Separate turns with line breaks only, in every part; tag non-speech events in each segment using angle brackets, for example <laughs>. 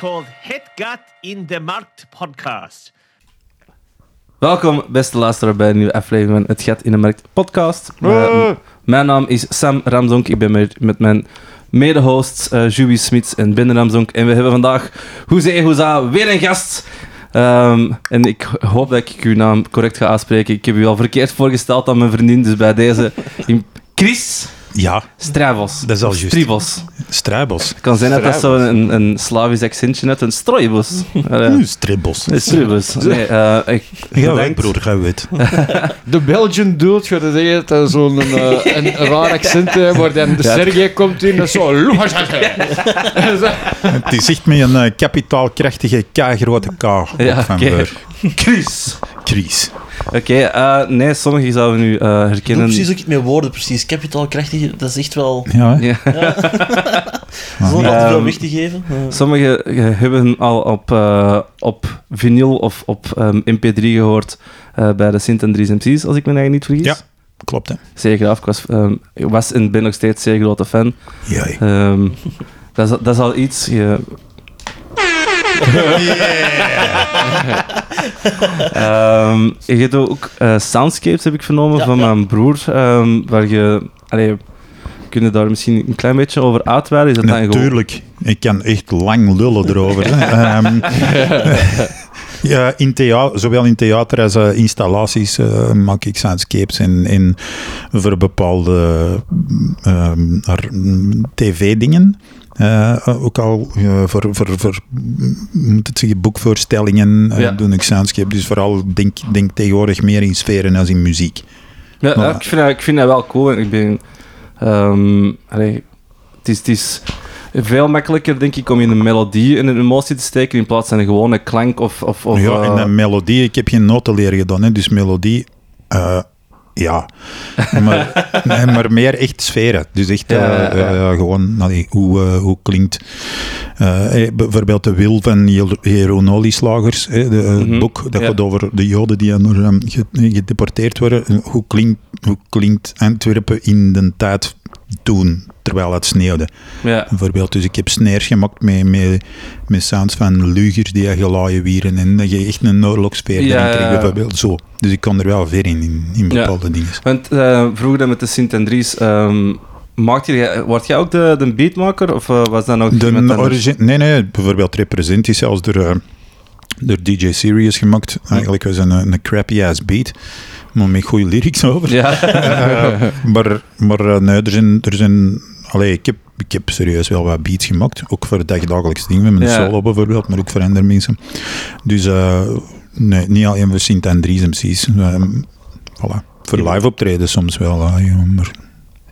called Hetgat in the Markt podcast.
Welkom, beste luisteraar, bij een nieuwe aflevering van Het Gat in de Markt podcast.
Ah.
Eh, m- mijn naam is Sam Ramdonk. Ik ben met, met mijn mede-hosts eh Juby Smits en Ben Ramdonk. En we hebben vandaag Hoezee Hoeza weer een gast. Ehm, en ik hoop dat ik uw naam correct ga aanspreken. Ik heb u al verkeerd voorgesteld aan mijn vriendin, dus bij deze... in- Chris
Ja,
Strijbos.
Dat is al
Of
juist.
Stribos.
struibos.
Het kan zijn dat dat zo'n een, een Slavisch accentje net een strooibos. Eh,
Hm, Stribbos.
Nee,
<laughs>
strooibos. Nee, eh, ik,
Ga weg,
bedankt.
broer, ga weet.
De Belgian dude gaat het zeggen dat zo'n eh, een raar accent heeft, waar dan de
Ja.
Sergej komt in en zo... <laughs>
Het is echt met een eh, kapitaalkrachtige K-grote K
Ja,
op van
oké.
Beur.
Chris.
Chris.
Oké, eh, nee, sommigen zouden u eh,
Ik
herkennen.
doe precies ook iets met woorden, precies. Kapitaalkrachtig, dat is echt wel...
Ja, hè?
<laughs>
Ja.
Zonder al te
Ehm,
veel weg te geven. Eh,
Sommigen eh, hebben al op, eh, op vinyl of op ehm, MP3 gehoord eh, bij de Sint en Dries MC's, als ik me eigenlijk niet vergis.
Ja. klopt hè.
Zeer graag. Ik was, ehm, ik was en ben nog steeds zeer grote fan.
Ja.
Ehm, dat, is, dat is al iets. je- Ehm, je hebt ook eh, soundscapes, heb ik vernomen,
Ja,
van
ja.
mijn broer. ehm, waar je... Allee, kun je daar misschien een klein beetje over uitweiden? Is dat dan gewoon-
Natuurlijk. Ik kan echt lang lullen erover. hè. Ehm, <laughs> ja, in thea- zowel in theater als eh, installaties eh, maak ik soundscapes en, en voor bepaalde ehm, ar- mm, tv-dingen. Eh, ook al eh, voor, voor, voor mm, moet het zeggen, boekvoorstellingen eh,
Ja.
doe ik soundscape. Dus vooral denk, denk tegenwoordig meer in sferen als in muziek.
Ja,
Maar-
ja, ik, vind dat, ik vind dat wel cool. en Ik ben, ehm, allee, het, is, het is veel makkelijker, denk ik, om in een melodie en een emotie te steken in plaats van een gewone klank of... of, of
ja, en
eh,
de melodie, ik heb geen noten leren gedaan, hè, dus melodie, eh, ja. <laughs> Maar, nee, maar meer echt sferen. Dus echt eh,
Ja, ja, ja.
eh, ja, gewoon allee, hoe, eh, hoe klinkt eh, eh, bijvoorbeeld de wil van Jer- Jeroen Olieslagers, hè, de, eh, het
Mhm,
boek, dat
ja.
gaat over de Joden die naar, eh, ge- gedeporteerd worden. En Hoe klinkt, hoe klinkt Antwerpen in de tijd toen, terwijl het sneeuwde?
ja.
Bijvoorbeeld, dus ik heb snares gemaakt met, met, met sounds van lugers die je gelaaien wieren en dat je echt een oorlogsfeer
Ja,
erin
ja,
krijgt,
ja.
bijvoorbeeld. Zo. Dus ik kan er wel ver in, in, in bepaalde dingen.
Want eh, vroeger dan met de Sint-Andries, ehm maakt jij, word jij ook de, de beatmaker? Of eh, was dat nog iemand
De
anders?
origin... Nee, nee, bijvoorbeeld Represent is zelfs door, eh, door DJ Serious gemaakt. Eigenlijk was het een, een crappy-ass beat, maar met goede lyrics <laughs> over.
Ja, <laughs>
Eh, maar maar eh, nee, er zijn... Er zijn allee, ik, heb, ik heb serieus wel wat beats gemaakt. Ook voor het dagelijks ding, met mijn
Ja.
solo bijvoorbeeld, maar ook voor andere mensen. Dus eh, nee, niet alleen voor Sint Andries MC's. ehm, voilà. Voor live optreden soms wel, eh, ja, maar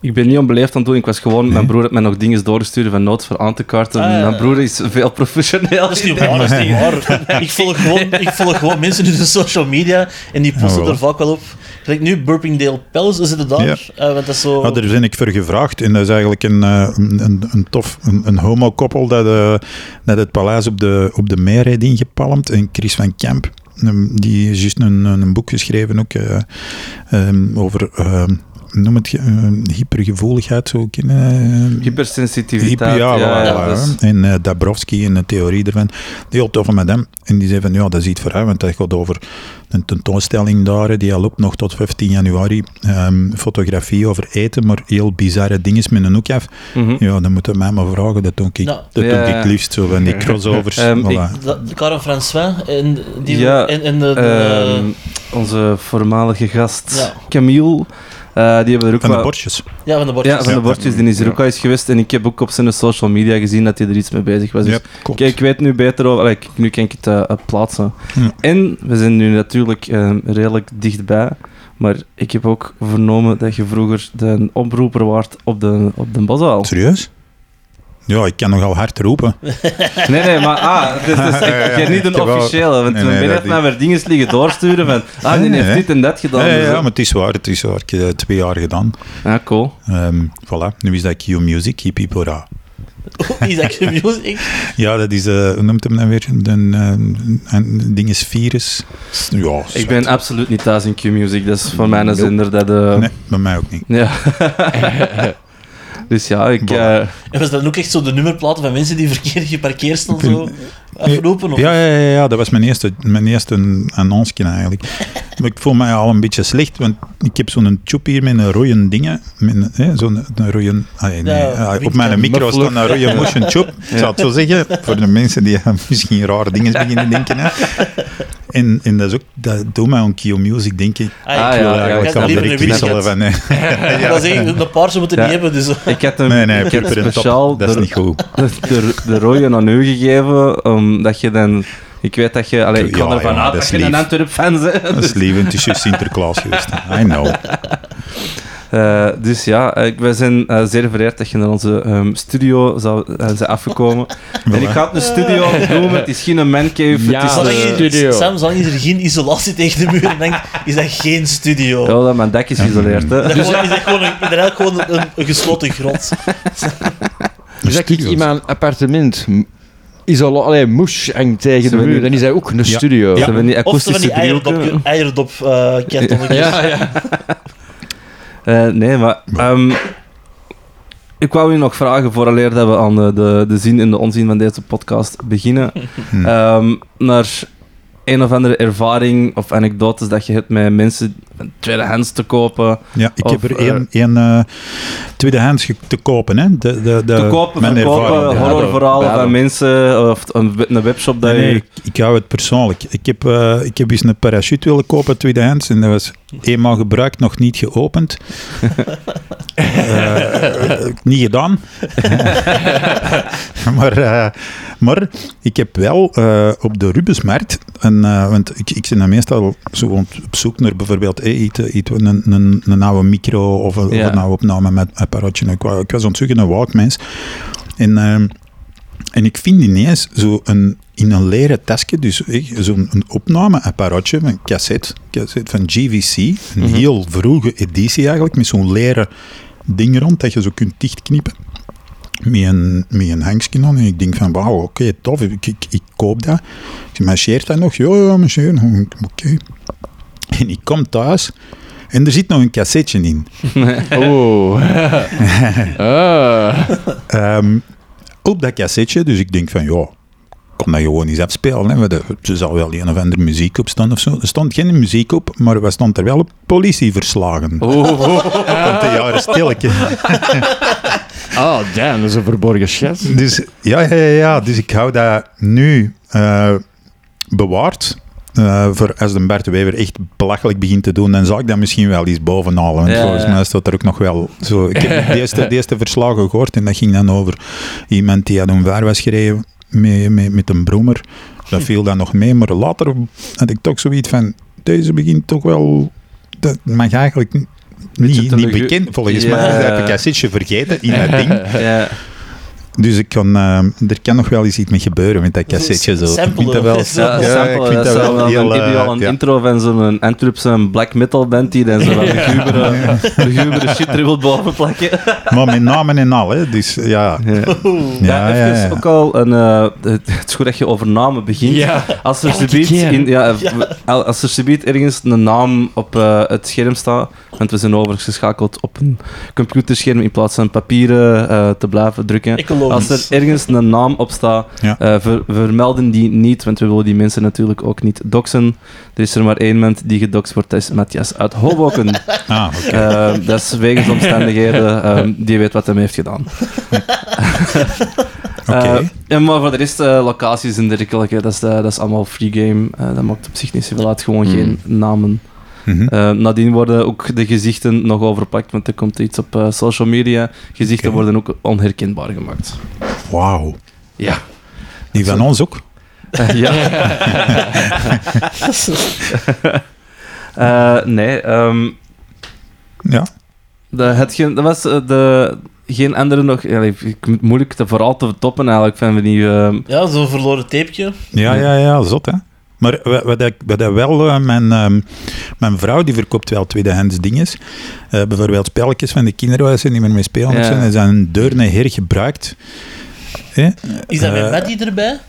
ik ben niet onbeleefd aan het doen. Ik was gewoon... Mijn broer had mij nog dingen doorgestuurd van notes voor aan te kaarten.
Ah, ja, ja.
Mijn broer is veel professioneel.
dat is niet waar, dat is niet waar. <laughs> Ik volg gewoon, ik volg gewoon mensen in de social media en die posten
Ah, wel.
er vaak wel op. Gelijk nu, Burpingdale Palace, zitten daar.
Ja.
eh, want dat is zo...
Ja, daar ben ik voor gevraagd. En dat is eigenlijk een, eh, een, een, een tof een, een homo-koppel dat, eh, dat het paleis op de, op de meer heeft ingepalmd. En Chris van Kemp, ehm, die heeft juist een, een een boek geschreven ook, eh, ehm, over, ehm, noem het, ge- eh, hypergevoeligheid. Zo, kennen, eh,
Hypersensitiviteit. dus,
Hippie, ja, voilà,
dat is-
hè. En eh, Dabrowski en de theorie ervan. Heel tof met hem. En die zei van, ja, dat is iets voor hem, want dat gaat over een tentoonstelling daar, hè, die al loopt nog tot 15 januari. Ehm, fotografie over eten, maar heel bizarre dingen met een hoek af.
Mhm. Nou,
Ja, dan moeten mij maar vragen, dat doe ik,
Ja.
dat
Ja.
doe ik het liefst, zo van die crossovers.
Ehm,
voilà.
ik-
Dat- Karen François en, die,
Ja,
en, en de... de-
Ehm, onze voormalige gast
Ja.
Camille, eh, die hebben er ook
Van de
wel-
bordjes.
ja, van de bordjes.
Ja, van de
Ja.
bordjes. Die is er ook al eens geweest. En ik heb ook op zijn social media gezien dat hij er iets mee bezig was. Dus
Ja, klopt.
kijk, ik weet nu beter over. Allee, ik- nu kan ik het eh, eh, plaatsen.
Ja.
En we zijn nu natuurlijk eh, redelijk dichtbij. Maar ik heb ook vernomen dat je vroeger de oproeper waard op de, op de bazaal.
Serieus? Ja, ik kan nogal hard roepen.
Nee, nee, maar ah, dus,
<laughs>
dus, ik, ik heb niet
Ik
een
heb wel-
officiële. Want
Nee,
toen
nee,
ben
dat
ik naar weer dingen liggen doorsturen van ah, die
Nee,
heeft
hè?
dit en dat gedaan.
Ja, ja,
dus,
ja,
eh,
maar het is waar, het is waar. Ik heb dat twee jaar gedaan.
ja, cool.
Ehm, voilà, nu is dat Q Music, hippie hoera.
<laughs> Is dat je music?
Ja, dat is, eh hoe noemt hem dan weer? Een, eh, een ding is virus. Ja,
Ik ben absoluut niet thuis in Q-Music. Dat is voor mij een
Nope.
zender dat... eh,
Nee, bij mij ook niet.
Ja. <laughs> Dus ja, ik... eh,
En was dan ook echt zo de nummerplaten van mensen die verkeerd geparkeerd stonden? Zo afgelopen? Of...
Ja, ja, ja, ja, dat was mijn eerste, mijn eerste annonce eigenlijk. maar ik voel mij al een beetje slecht, want ik heb zo'n tube hier met een rode dingen. Met een, hè, zo'n een rode... ah, nee,
Ja,
ah, op
wink-
mijn micro
muffler.
staat een rode motion tube. Ik zou het zo zeggen, voor de mensen die aan misschien rare dingen beginnen denken. Hè. En, en dat is ook... Dat doet mij aan Kio Music, denk ik.
Ah,
Ah,
Ik wil
ja, ja,
eigenlijk
ik had
al
liever
direct
een winnetje.
wisselen van... hè.
Dat is echt, de paarse moeten
Ja.
niet hebben, dus...
ik heb hem
Nee, nee,
ik heb
pepper en
speciaal
top. Dat is
de-
niet goed.
de, de, de rode aan u gegeven, omdat je dan... Ik weet dat je... Allee, ik kan
Ja,
ervan
ja,
uit
dat
dat
is
je een
lief.
Antwerp-fan bent.
<laughs> Dat is lief, want het is juist Sinterklaas geweest. I know.
Eh, dus ja, ik, wij zijn eh, zeer vereerd dat je naar onze ehm, studio zou eh, zijn
<laughs>
afgekomen. En ik ga het een studio noemen, het is geen mancave,
Ja.
het is...
Zolang
eh,
je,
studio.
Ah, Sam, zolang je er geen isolatie tegen de muren hangt, is dat geen studio.
Ja, dat mijn dek is geïsoleerd, hè.
Dat is gewoon- is dat gewoon een, inderdaad gewoon een, een gesloten
<laughs>
grot.
Dus dat ik
Studio's.
in mijn appartement m- is al allee, moes hangt tegen
Ze
de
willen-
muur, dan is hij ook een studio.
Ze hebben die
Of zo van
akoestische
die eierdop,
driehoeken.
eierdop eh, kartonnetjes.
Ja, ja.
Eh, nee, maar... ehm, ik wou u nog vragen, vooraleer dat we aan de, de, de zin en de onzin van deze podcast beginnen,
Hmm.
ehm, naar een of andere ervaring of anekdotes dat je hebt met mensen tweedehands te kopen.
Ja, ik
Of,
heb er
eh,
één, één eh, tweedehands ge- te kopen. Hè? De, de, de,
te kopen,
Eh, mijn
verkopen, eh,
ervaring.
hoor.
horrorverhalen
Ja, dat-
van mensen of t- een, we- een webshop dat
Nee,
je...
nee, ik, ik hou het persoonlijk. Ik heb, eh, ik heb eens een parachute willen kopen tweedehands en dat was eenmaal gebruikt, nog niet
<laughs>
geopend. Eh, eh, niet gedaan. <laughs> maar, eh, maar ik heb wel eh, op de Rubensmarkt, en, eh, want ik, ik ben dan meestal zo op zoek naar bijvoorbeeld eh, iets, iets, een, een, een oude micro of een,
Ja.
of een oude opname met apparaatje. Ik, wou- ik was aan het zoeken naar Walkmans. En, ehm, en ik vind ineens zo een, in een leren tasje, dus eh, zo'n een opnameapparaatje, een cassette, cassette van GVC, een heel vroege editie eigenlijk, met zo'n leren ding rond dat je zo kunt dichtknippen. Met een, met een hangstje aan. En ik denk van, wauw, oké, tof, ik, ik, ik koop dat. Ik zeg, marcheert dat nog? Ja, ja, marcheert. Oké. En ik kom thuis en er zit nog een cassetje in.
<laughs>
<laughs>
Oeh. Ah.
Ehm, op dat cassetje, dus ik denk van ja, ik kan dat gewoon eens afspelen. Hè. want Er er zal wel een of andere muziek op staan of zo. Er stond geen muziek op, maar we stond er wel op politieverslagen. Oh. <laughs> Komt een jaren stilke.
Ah, damn, dat is een verborgen schat.
<laughs> Dus ja, ja, ja, ja, dus ik hou dat nu eh, bewaard. Eh, voor als de Bert Wever echt belachelijk begint te doen, dan zal ik dat misschien wel eens bovenhalen. Want
Ja,
volgens
ja.
mij staat er ook nog wel zo. Ik heb de eerste, de eerste verslagen gehoord en dat ging dan over iemand die aan een vaar was gereden met, met, met een brommer. Dat viel dan nog mee, maar later had ik toch zoiets van: deze begint toch wel. Dat mag eigenlijk niet,
Beetje
niet
te lugu-
bekend. Volgens
Ja.
mij heb ik een zitje vergeten in dat ding.
<laughs> Ja.
Dus ik kan, eh, er kan nog wel eens iets mee gebeuren met dat cassetje. Zo. Ik vind dat wel,
Samplen.
Ja,
ja,
Ja,
sample, dat is wel- dan heb je al een
eh, ja.
intro van zo'n Antwerpse black metal band die dan zo'n lugubere, lugubere shit er wil boven plakken.
Maar met namen en al, hè. Dus ja.
Ja.
Ja, ja,
even
Ah, ja.
ook al een... eh, het het is goed dat je over namen begint.
Ja.
Als er subiet
keer.
in- ja, eh, al- als er subiet ergens een naam op eh, het scherm staat, want we zijn overigens geschakeld op een computerscherm in plaats van papieren eh, te blijven drukken.
Ecologisch.
Als er ergens een naam op staat,
Ja.
eh, ver- vermelden die niet, want we willen die mensen natuurlijk ook niet doxen. Er is er maar één mens die gedoxt wordt, dat is Matthias uit Hoboken.
Ah, oké.
Eh, dat is wegens omstandigheden, ehm, die weet wat hem heeft gedaan.
<laughs> Oké.
Eh, ja, maar voor de rest, eh, locaties en dergelijke, dat is, eh, dat is allemaal free game. Eh, dat maakt op zich niet zoveel uit, gewoon geen namen.
Mm. Mhm.
Eh, nadien worden ook de gezichten nog overpakt, want er komt iets op eh, social media. Gezichten
Oké.
worden ook onherkenbaar gemaakt.
Wauw.
Ja.
Die van ons ook. <laughs>
ja. <laughs> Eh, nee, ehm,
Ja.
dat, had geen, dat was eh, de, geen andere nog... ja, ik- ik moet- moeilijk te, vooral te toppen eigenlijk, van die... ehm,
Ja, zo'n verloren tapeje.
Ja, ja, ja. Zot, hè. Maar wa- wat ik, wat ik wel... eh, mijn, ehm, mijn vrouw die verkoopt wel tweedehands dingen. Eh, bijvoorbeeld spelletjes van de kinderen waar ze niet meer mee spelen.
Ja. <laughs>
Ja. Ze zijn deur naar hergebruikt.
Is dat
Eh.
met Maddie erbij?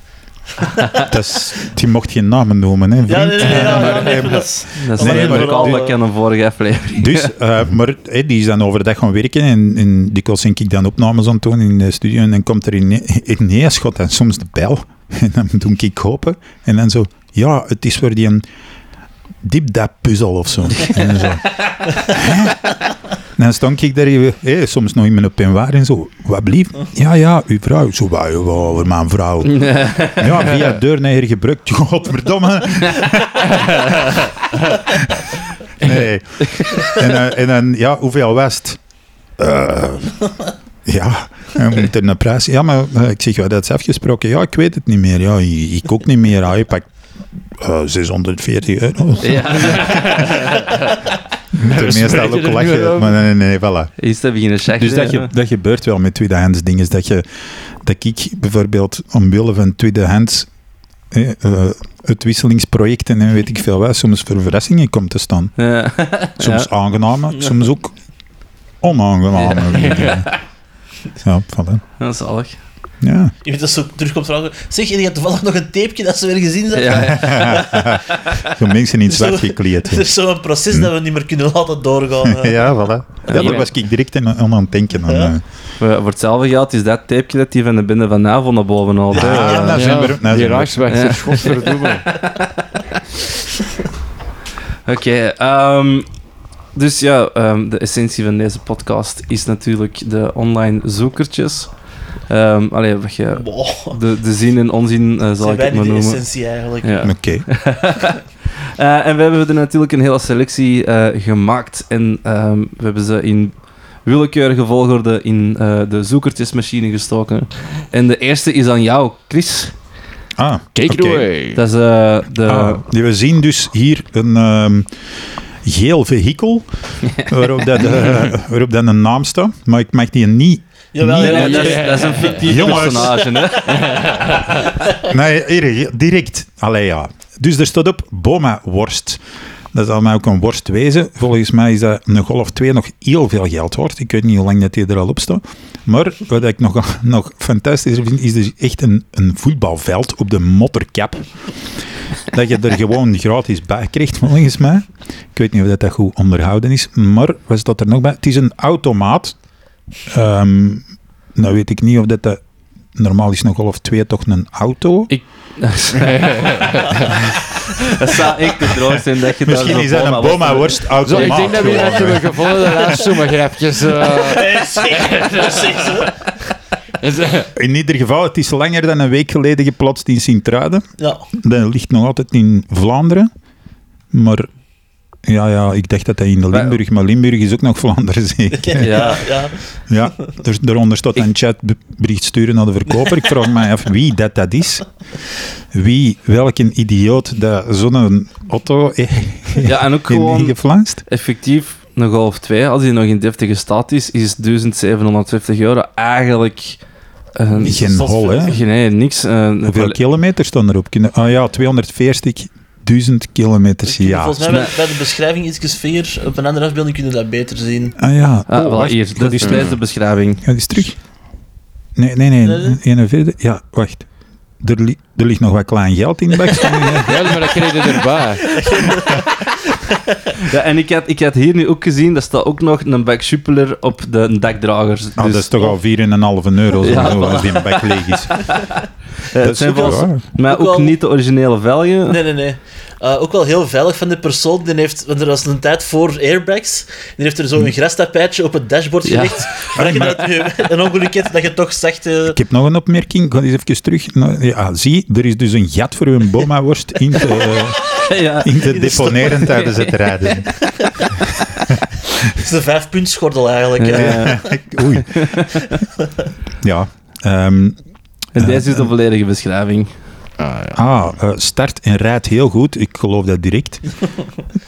Dat is, die mocht geen namen noemen, hè,
Ja,
vriend.
nee, nee, nee, ja, ja,
Maar,
nee,
eh,
dat is-
Dat is
Nee,
een
maar-
callback aan een vorige aflevering.
<laughs> Dus, eh, maar eh, die is dan overdag gaan werken en, en dikwijls denk ik dan opnames aan het doen in de studio en dan komt er ine- ineens, god, en soms de bel. <laughs> En dan doe ik open en dan zo, ja, het is voor die een deep dat puzzel of zo. En dan zo. Hè? En dan stond ik daar even, eh, soms nog in mijn peignoir en zo, wat blieft? Ja, ja, uw vrouw. Ik Zo, wat, wat, wat, mijn vrouw.
<laughs>
Ja, via de deur naar hier gebruikt. <laughs> Godverdomme. nee. En, eh, en dan, ja, hoeveel was het? Eh, ja, en moet er een prijs... Ja, maar eh, ik zeg, ja, dat is afgesproken. Ja, ik weet het niet meer. Ja, ik, ik ook niet meer. Ah, je pakt eh, 640 euro.
Ja.
Tenminste, meestal
spreken
ook
er nu
lachen.
over.
Maar nee, nee, nee, voilà.
Is dat beginnen checken?
Dus dat, je, dat gebeurt wel met tweedehands dingen. Dat, je, dat ik bijvoorbeeld omwille van tweedehands eh, eh, uitwisselingsprojecten en weet ik veel wat, soms voor verrassingen komt te staan.
Ja.
Soms
Ja.
aangename, soms ook onaangename. Ja, ja voilà.
Dat is zalig.
Ja.
Je weet dat zo terugkomt van... Zeg, je hebt toevallig nog een tapeje dat ze weer gezien zijn? <laughs>
Ja, ja.
Zo mensen in het
Zo-
zwart gekleed.
Het is zo'n proces dat we niet meer kunnen laten doorgaan.
<laughs>
eh. hè.
Ja, voilà. Ja, daar was ik direct aan, aan het denken. Aan,
Ja.
eh.
Maar Voor hetzelfde geld is dat tapeje dat die van de binnen vanavond naar boven haalt. hè.
Ja,
Eh,
nou zijn we er- nou
die
zijn we er.
raakswachter, godverdomme.
Oké, ehm, dus ja, ehm, de essentie van deze podcast is natuurlijk de online zoekertjes. Ehm allee, wat je,
Boah,
de, de zin en onzin eh, zal
zijn
ik
wij
het
niet
maar
de
noemen.
essentie eigenlijk?
Ja.
Oké.
Eh, en we hebben er natuurlijk een hele selectie eh, gemaakt en ehm, we hebben ze in willekeurige volgorde in eh, de zoekertjesmachine gestoken. En de eerste is aan jou, Chris.
Ah,
<laughs> Take it
oké.
away.
Dat is eh, de...
Ah, we zien dus hier een ehm, geel vehikel waarop, dat, eh, waarop dat een naam staat, maar ik mag die niet.
Jawel,
Nee,
jawel,
nee, dat,
jawel.
is, dat is een fictief
Jongens.
personage, hè.
Nee, hier, direct. Allee ja. Dus er staat op Boma worst. Dat zal mij ook een worst wezen. Volgens mij is dat een golf 2 nog heel veel geld waard. Ik weet niet hoe lang dat die er al op staat. Maar wat ik nog, <laughs> nog fantastischer vind, is dus echt een, een voetbalveld op de mottercap. Dat je er gewoon gratis bij krijgt, volgens mij. Ik weet niet of dat, dat goed onderhouden is. Maar wat staat er nog bij? Het is een automaat. Ehm, nou weet ik niet of dat, dat... Normaal is een golf 2 toch een auto?
Dat zou echt de droom zijn dat je
Misschien
daar
is dat een boma worst
Zo, ik denk dat we net hebben
automaat.
gevonden de laatste, maar grapjes. eh,
Nee, zeker, precies, hè.
is, eh,
In ieder geval, het is langer dan een week geleden geplaatst in Sint-Truiden.
Ja,
Dat ligt nog altijd in Vlaanderen. Maar ja, ja, ik dacht dat dat in Limburg... Maar Limburg is ook nog Vlaanderen, zeker.
Ja.
ja.
<laughs> Ja, dus daaronder staat een chatbericht sturen naar de verkoper. Ik vraag me af wie dat, dat is. Wie, welke idioot dat zo'n auto eh, <laughs>
ja, en ook
in
gewoon
ingeflanst.
effectief een Golf 2, als die nog in deftige staat is, is 1750 euro eigenlijk... een-
Geen hol, hè.
Nee, niks. eh,
Hoeveel
wel-
kilometer staan erop? Kunnen- Ah ja, 240.000 kilometers.
Ik heb
Ja.
Volgens mij bij- bij de beschrijving iets veer. Op een andere afbeelding kunnen we dat beter zien.
Ah ja.
Ah,
Oh,
wel,
wacht,
hier,
ik ga
dat
die
is
terug.
deze beschrijving.
Ga die eens terug. Nee, nee, nee.
Nee, nee.
41. Ja, wacht. Er, li- er ligt nog wat klein geld in de bak. <laughs>
Ja, maar dat kreeg je erbij.
Ja, en ik had, ik had hier nu ook gezien, dat staat ook nog een bak Schupeler op de dakdragers. Dus,
Ah, dat is toch al 4,5 euro
Ja,
zo, als die een bak leeg <laughs> is.
eh,
Dat
het
is
zijn
ook
volgens
waar.
mij
Ook
ook
wel-
niet de originele velgen.
Nee, nee, nee. Eh, ook wel heel veilig van de persoon. Die heeft, want er was een tijd voor airbags. Die heeft er zo een grastapijtje op het dashboard
Hm. Ja. Hm.
gelegd. Maar dat je <laughs> dat nu een ongeluk hebt, dat je toch zegt... eh,
Ik heb nog een opmerking. Ik ga eens even terug. naar- Ja, zie, er is dus een gat voor uw boma-worst in <laughs> te,
<laughs> ja.
in te deponeren tijdens het rijden.
het is een vijfpuntsgordel eigenlijk. hè.
Eh,
<laughs> Oei. Ja. ehm,
en Dus deze is de volledige beschrijving.
Ah, eh, start en rijdt heel goed. Ik geloof dat direct.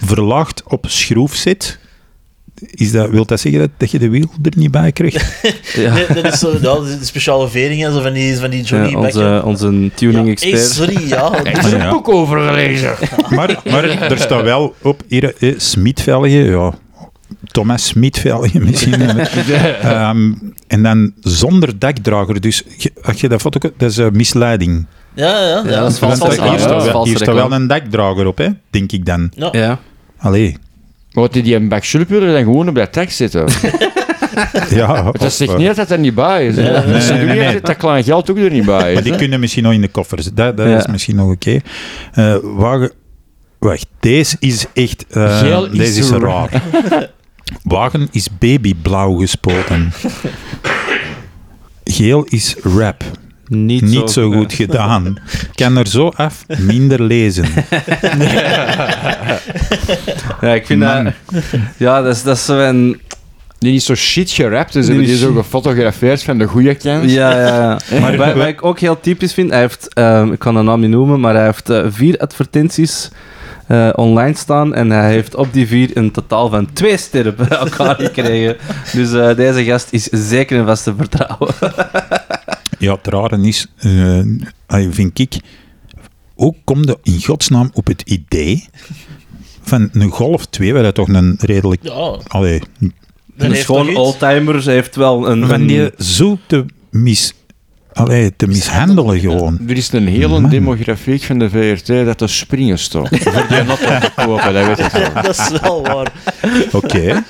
Verlaagd op schroef zit. Is dat, wil dat zeggen dat, dat je de wiel er niet bij krijgt?
Ja.
Nee, dat is zo, ja, dat is de speciale veringen zo van die, van die Johnny
Ja,
Becker.
onze, onze
Ja, hey,
tuning-expert. <laughs>
sorry, ja.
Er is een boek over gelezen.
Maar, maar er staat wel op hier eh, Smitvelge, ja. Thomas Smitvelge misschien. Ehm, en dan zonder dakdrager. Dus je- als je dat foto... Dat is eh, misleiding.
Ja, ja, ja.
Ja, dat is vals
vals vals
reclame. Ja.
Hier
reclame.
staat wel-
Valse
hier staat wel
reclame.
een dekdrager op, hè? denk ik dan.
Ja.
Allee.
Maar die die een bak schulpullen dan gewoon op dat tak zitten.
Ja,
Dat
of,
zegt
eh,
niet dat dat er niet bij is. hè.
Ja.
Dus ze
Nee,
doen
nee,
niet
nee.
dat dat klein geld ook er niet bij is.
Maar die kunnen misschien nog in de koffers. Dat, dat
Ja.
is misschien nog oké. Eh, wagen- wacht, deze is echt... eh,
Geel is
deze is
raar.
raar. <laughs> Wagen is babyblauw gespoten. Geel is rap.
Niet,
Niet zo goed gedaan. Kan er zo af minder lezen.
Ja, ik vind dat... Ja, dat is, dat is zo'n...
Die is zo shit gerapt, dus
Die
hebben die
is
zo
shit.
gefotografeerd van de goede kant.
<laughs> Ja, ja, ja. Maar wat, wat ik ook heel typisch vind, hij heeft, ehm, ik kan de naam niet noemen, maar hij heeft eh, vier advertenties eh, online staan en hij heeft op die vier een totaal van twee sterren bij <laughs> elkaar gekregen. Dus eh, deze gast is zeker en vast te vertrouwen.
Ja, het rare is, eh, allee, vind ik, hoe kom je in godsnaam op het idee van een Golf 2, waar dat toch een redelijk...
Ja,
Allee,
dat
Dus
Oh, heeft nog
gewoon
iets.
oldtimer, hij heeft wel een...
van
een-
die zo te, mis, allee, te mishandelen gewoon.
Er is een hele
Man.
demografiek van de VRT dat er springen stond. Voor die noten te kopen, dat weet ik wel.
<laughs> dat is wel waar.
Oké.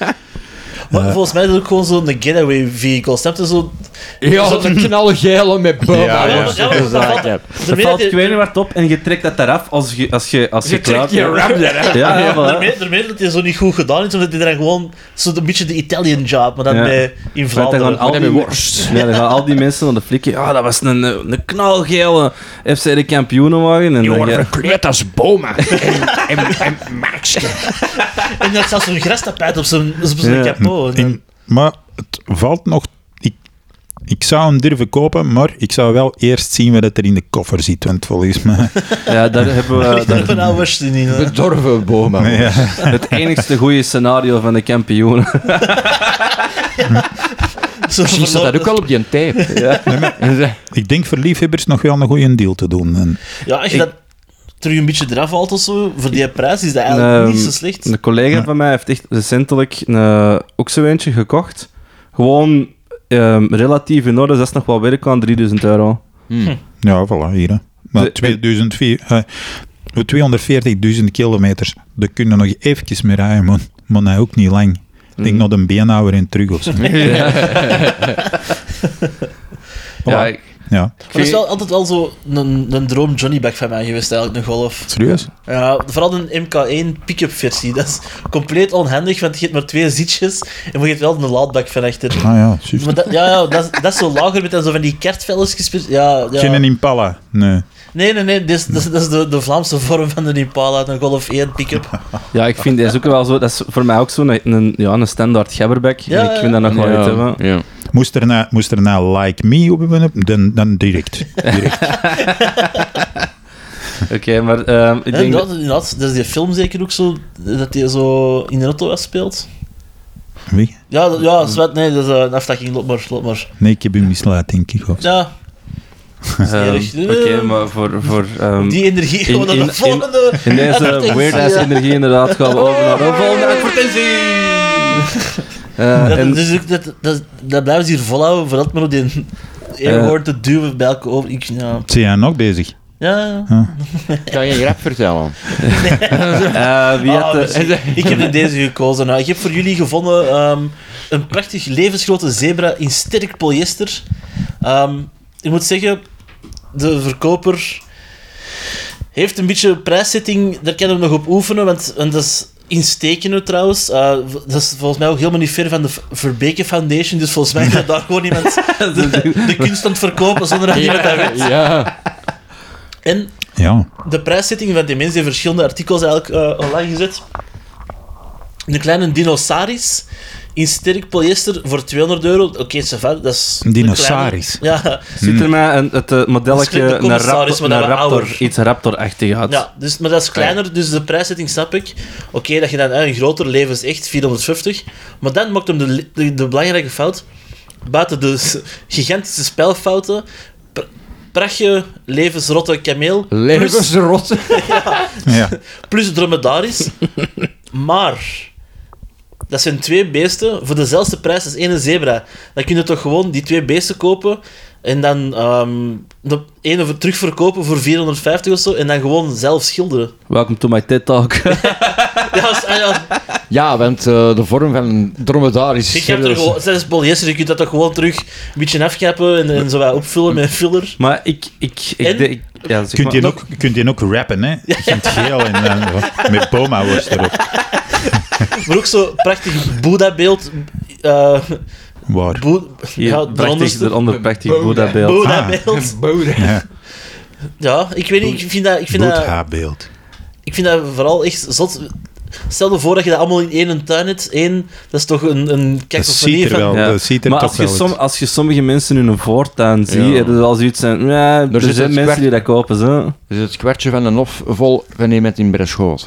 Maar volgens mij is het ook gewoon zo'n getaway vehicle. Snap je zo?
Ja, dat een knalgele met bomen.
Ah,
Ja, ja.
jongens, dat is
Ja,
dat, ja.
Er
Daarmee dat
valt
je-
ik weet niet wat op en je trekt dat eraf als je, als je, als je,
Je trekt je
bent.
rap eraf.
<laughs> Ja, ja, voilà.
daarmee- Daarmee dat hij zo niet goed gedaan is, omdat hij dan gewoon zo'n beetje de Italian job, maar dan
Ja.
bij, in
Want dan gaan
Vlaanderen.
al
dan
die
met
worst. Ja, dan gaan al die mensen naar de flikken. Ja, dat was een, eh, een knalgele FC de kampioenenwagen. En
Die
dan
worden
ga-
verkleed als bomen. En, en, en Marxen.
En dat zelfs zo'n grastapijt op zijn, op zijn
<laughs> Ja.
capot. <laughs>
In- maar het valt nog... Ik, ik zou hem durven kopen, maar ik zou wel eerst zien wat dat er in de koffer zit, want
<laughs>
volgens mij...
Ja, daar hebben we...
<laughs> Ligt
daar-
er van nou worst in. hè.
Bedorven bomen.
Ja.
het enigste goede scenario van de kampioenen.
<laughs> Zo
Misschien staat dat ook al op die tape. En ze-
Ik denk voor liefhebbers nog wel een goede deal te doen. En,
Ja, als je dat terug een beetje eraf haalt of zo, voor die prijs is dat eigenlijk
Ehm,
niet zo slecht.
Een collega van mij heeft echt recentelijk een, ook zo'n eentje gekocht. Gewoon ehm, relatief in orde, dus dat is nog wel werk aan 3000 euro.
ja, voilà, hier. Hè.
De-
Maar 2004, eh, 240.000 kilometers, daar kunnen nog eventjes mee rijden, maar, maar nou ook niet lang. Ik
Mhm.
denk nog een beenhouwer in terug of zo.
<laughs> Ja, ik-
Ja,
Maar dat is wel altijd wel zo een, een droom Johnnyback van mij geweest, eigenlijk, een golf.
serieus?
Ja, vooral een MK1 pick-up versie. Dat is compleet onhandig, want je hebt maar twee zitjes en maar je hebt wel een laadbak van achter.
Ah ja, juist.
Maar dat, ja, ja dat, is, dat is zo lager met dan zo van die kertvelletjes. gespe- Ja, ja.
Geen Impala, nee.
Nee, nee, nee, dat is, dat is, dat is de, de Vlaamse vorm van de Impala, een Golf 1 pick-up.
ja, ik vind dat is ook wel zo. Dat is voor mij ook zo'n een, een- ja, een standaard gabberback.
Ja,
ik vind dat nog wel iets hebben.
ja.
Moest er, na, moest er na Like Me op hebben, dan, dan direct. direct.
Oké, maar ehm, ik
Ja,
denk.
inderdaad, inderdaad, dat is die film zeker ook zo, dat die zo in de auto was speelt.
Wie?
Ja, dat- ja, zwart, nee, dat is eh, een aftakking, loop maar, loop maar.
Nee, ik heb hem misluid, denk ik. Of.
Ja,
ehm,
eerlijk.
Oké, maar voor. voor ehm,
die energie <laughs> gewoon naar
in-
de volgende.
in
<laughs>
deze
advertentie,
weird-ass
ja. Oh.
energie inderdaad gaan we over naar de volgende advertentie. Eh,
<laughs> Dat,
en-
dus ook, dat, dat, dat blijven ze hier volhouden, vooral maar op die <laughs> airhorn
Eh.
te duwen bij elke over. Ik, ja.
Zijn jij nog bezig?
ja, ja.
Kan je een grap vertellen?
Eh, wie had
Ah,
de- <laughs>
misschien. ik heb in deze gekozen. Nou, ik heb voor jullie gevonden ehm, een prachtig levensgrote zebra in sterk polyester. Ehm, ik moet zeggen, de verkoper heeft een beetje prijszetting. Daar kunnen we nog op oefenen, want, want dat is instekende trouwens. Eh, v- dat is volgens mij ook helemaal niet ver van de V- Verbeke Foundation. Dus volgens mij gaat daar gewoon
<laughs>
iemand de, de kunst aan het verkopen zonder dat iemand dat weet.
Ja.
En
Ja.
de prijszetting van die mensen in verschillende artikels eigenlijk eh, online gezet. Een kleine dinosaurus in sterk polyester voor 200 euro. Oké, ça va, dat is...
Een dinosaurus.
dinosaurus. Ja,
Ziet
Hmm.
er mij een, het eh,
Dat is
modelletje
de
naar
commissaris,
raptor,
maar
naar
dan wel
raptor
ouder.
iets raptorachtig uit.
ja dus, maar dat is kleiner, dus de prijszetting snap ik. Oké, dat je dan eh, een groter leven is echt 450. Maar dan maakt hem de, li- de, de belangrijke fout. Buiten de s- gigantische spelfouten... pr- Prachtje, levensrotte kameel. plus-
Levensrot.
ja.
<laughs>
plus dromedaris. maar dat zijn twee beesten voor dezelfde prijs als één zebra. Dan kun je toch gewoon die twee beesten kopen En dan ehm de ene ver- terugverkopen voor 450 of zo. En dan gewoon zelf schilderen.
Welcome to my TED
<laughs>
Talk.
Ja, als- ah ja,
<laughs> Ja, want eh, de vorm van een dromedaris.
Ik heb er gewoon, dat is polyester, je kunt dat toch gewoon terug een beetje afkappen en, en zo wat opvullen met filler.
maar ik... ik, ik,
En?
denk- ik- ja, zeg
Kunt
maar,
je ook, kunt je ook rappen, hè? In het geel en dan met Boma-worst erop.
Maar ook zo'n prachtig Boeddha-beeld. eh
Waar?
Boe-
Hier,
ja, de
prachtig,
onderste.
eronder prachtig Boeddha-beeld.
Ah.
Boeddha-beeld.
<laughs>
Ja,
Ja, ik weet niet, ik vind dat, ik vind dat,
Boetha-beeld.
ik vind dat vooral echt zot. Stel je voor dat je dat allemaal in één tuin hebt. Eén, dat is toch een, een
Dat ziet
cacophonie
er wel,
van...
Ja.
dat ziet er
Maar
toch
als je,
wel
som,
uit.
als je sommige mensen in een voortuin ziet,
Ja.
dat is wel zoiets van... Ja, er,
zit
zijn
een
mensen
kwart-
die dat kopen, zo.
Dus het kwartje van een hof vol van iemand in Bereschoot.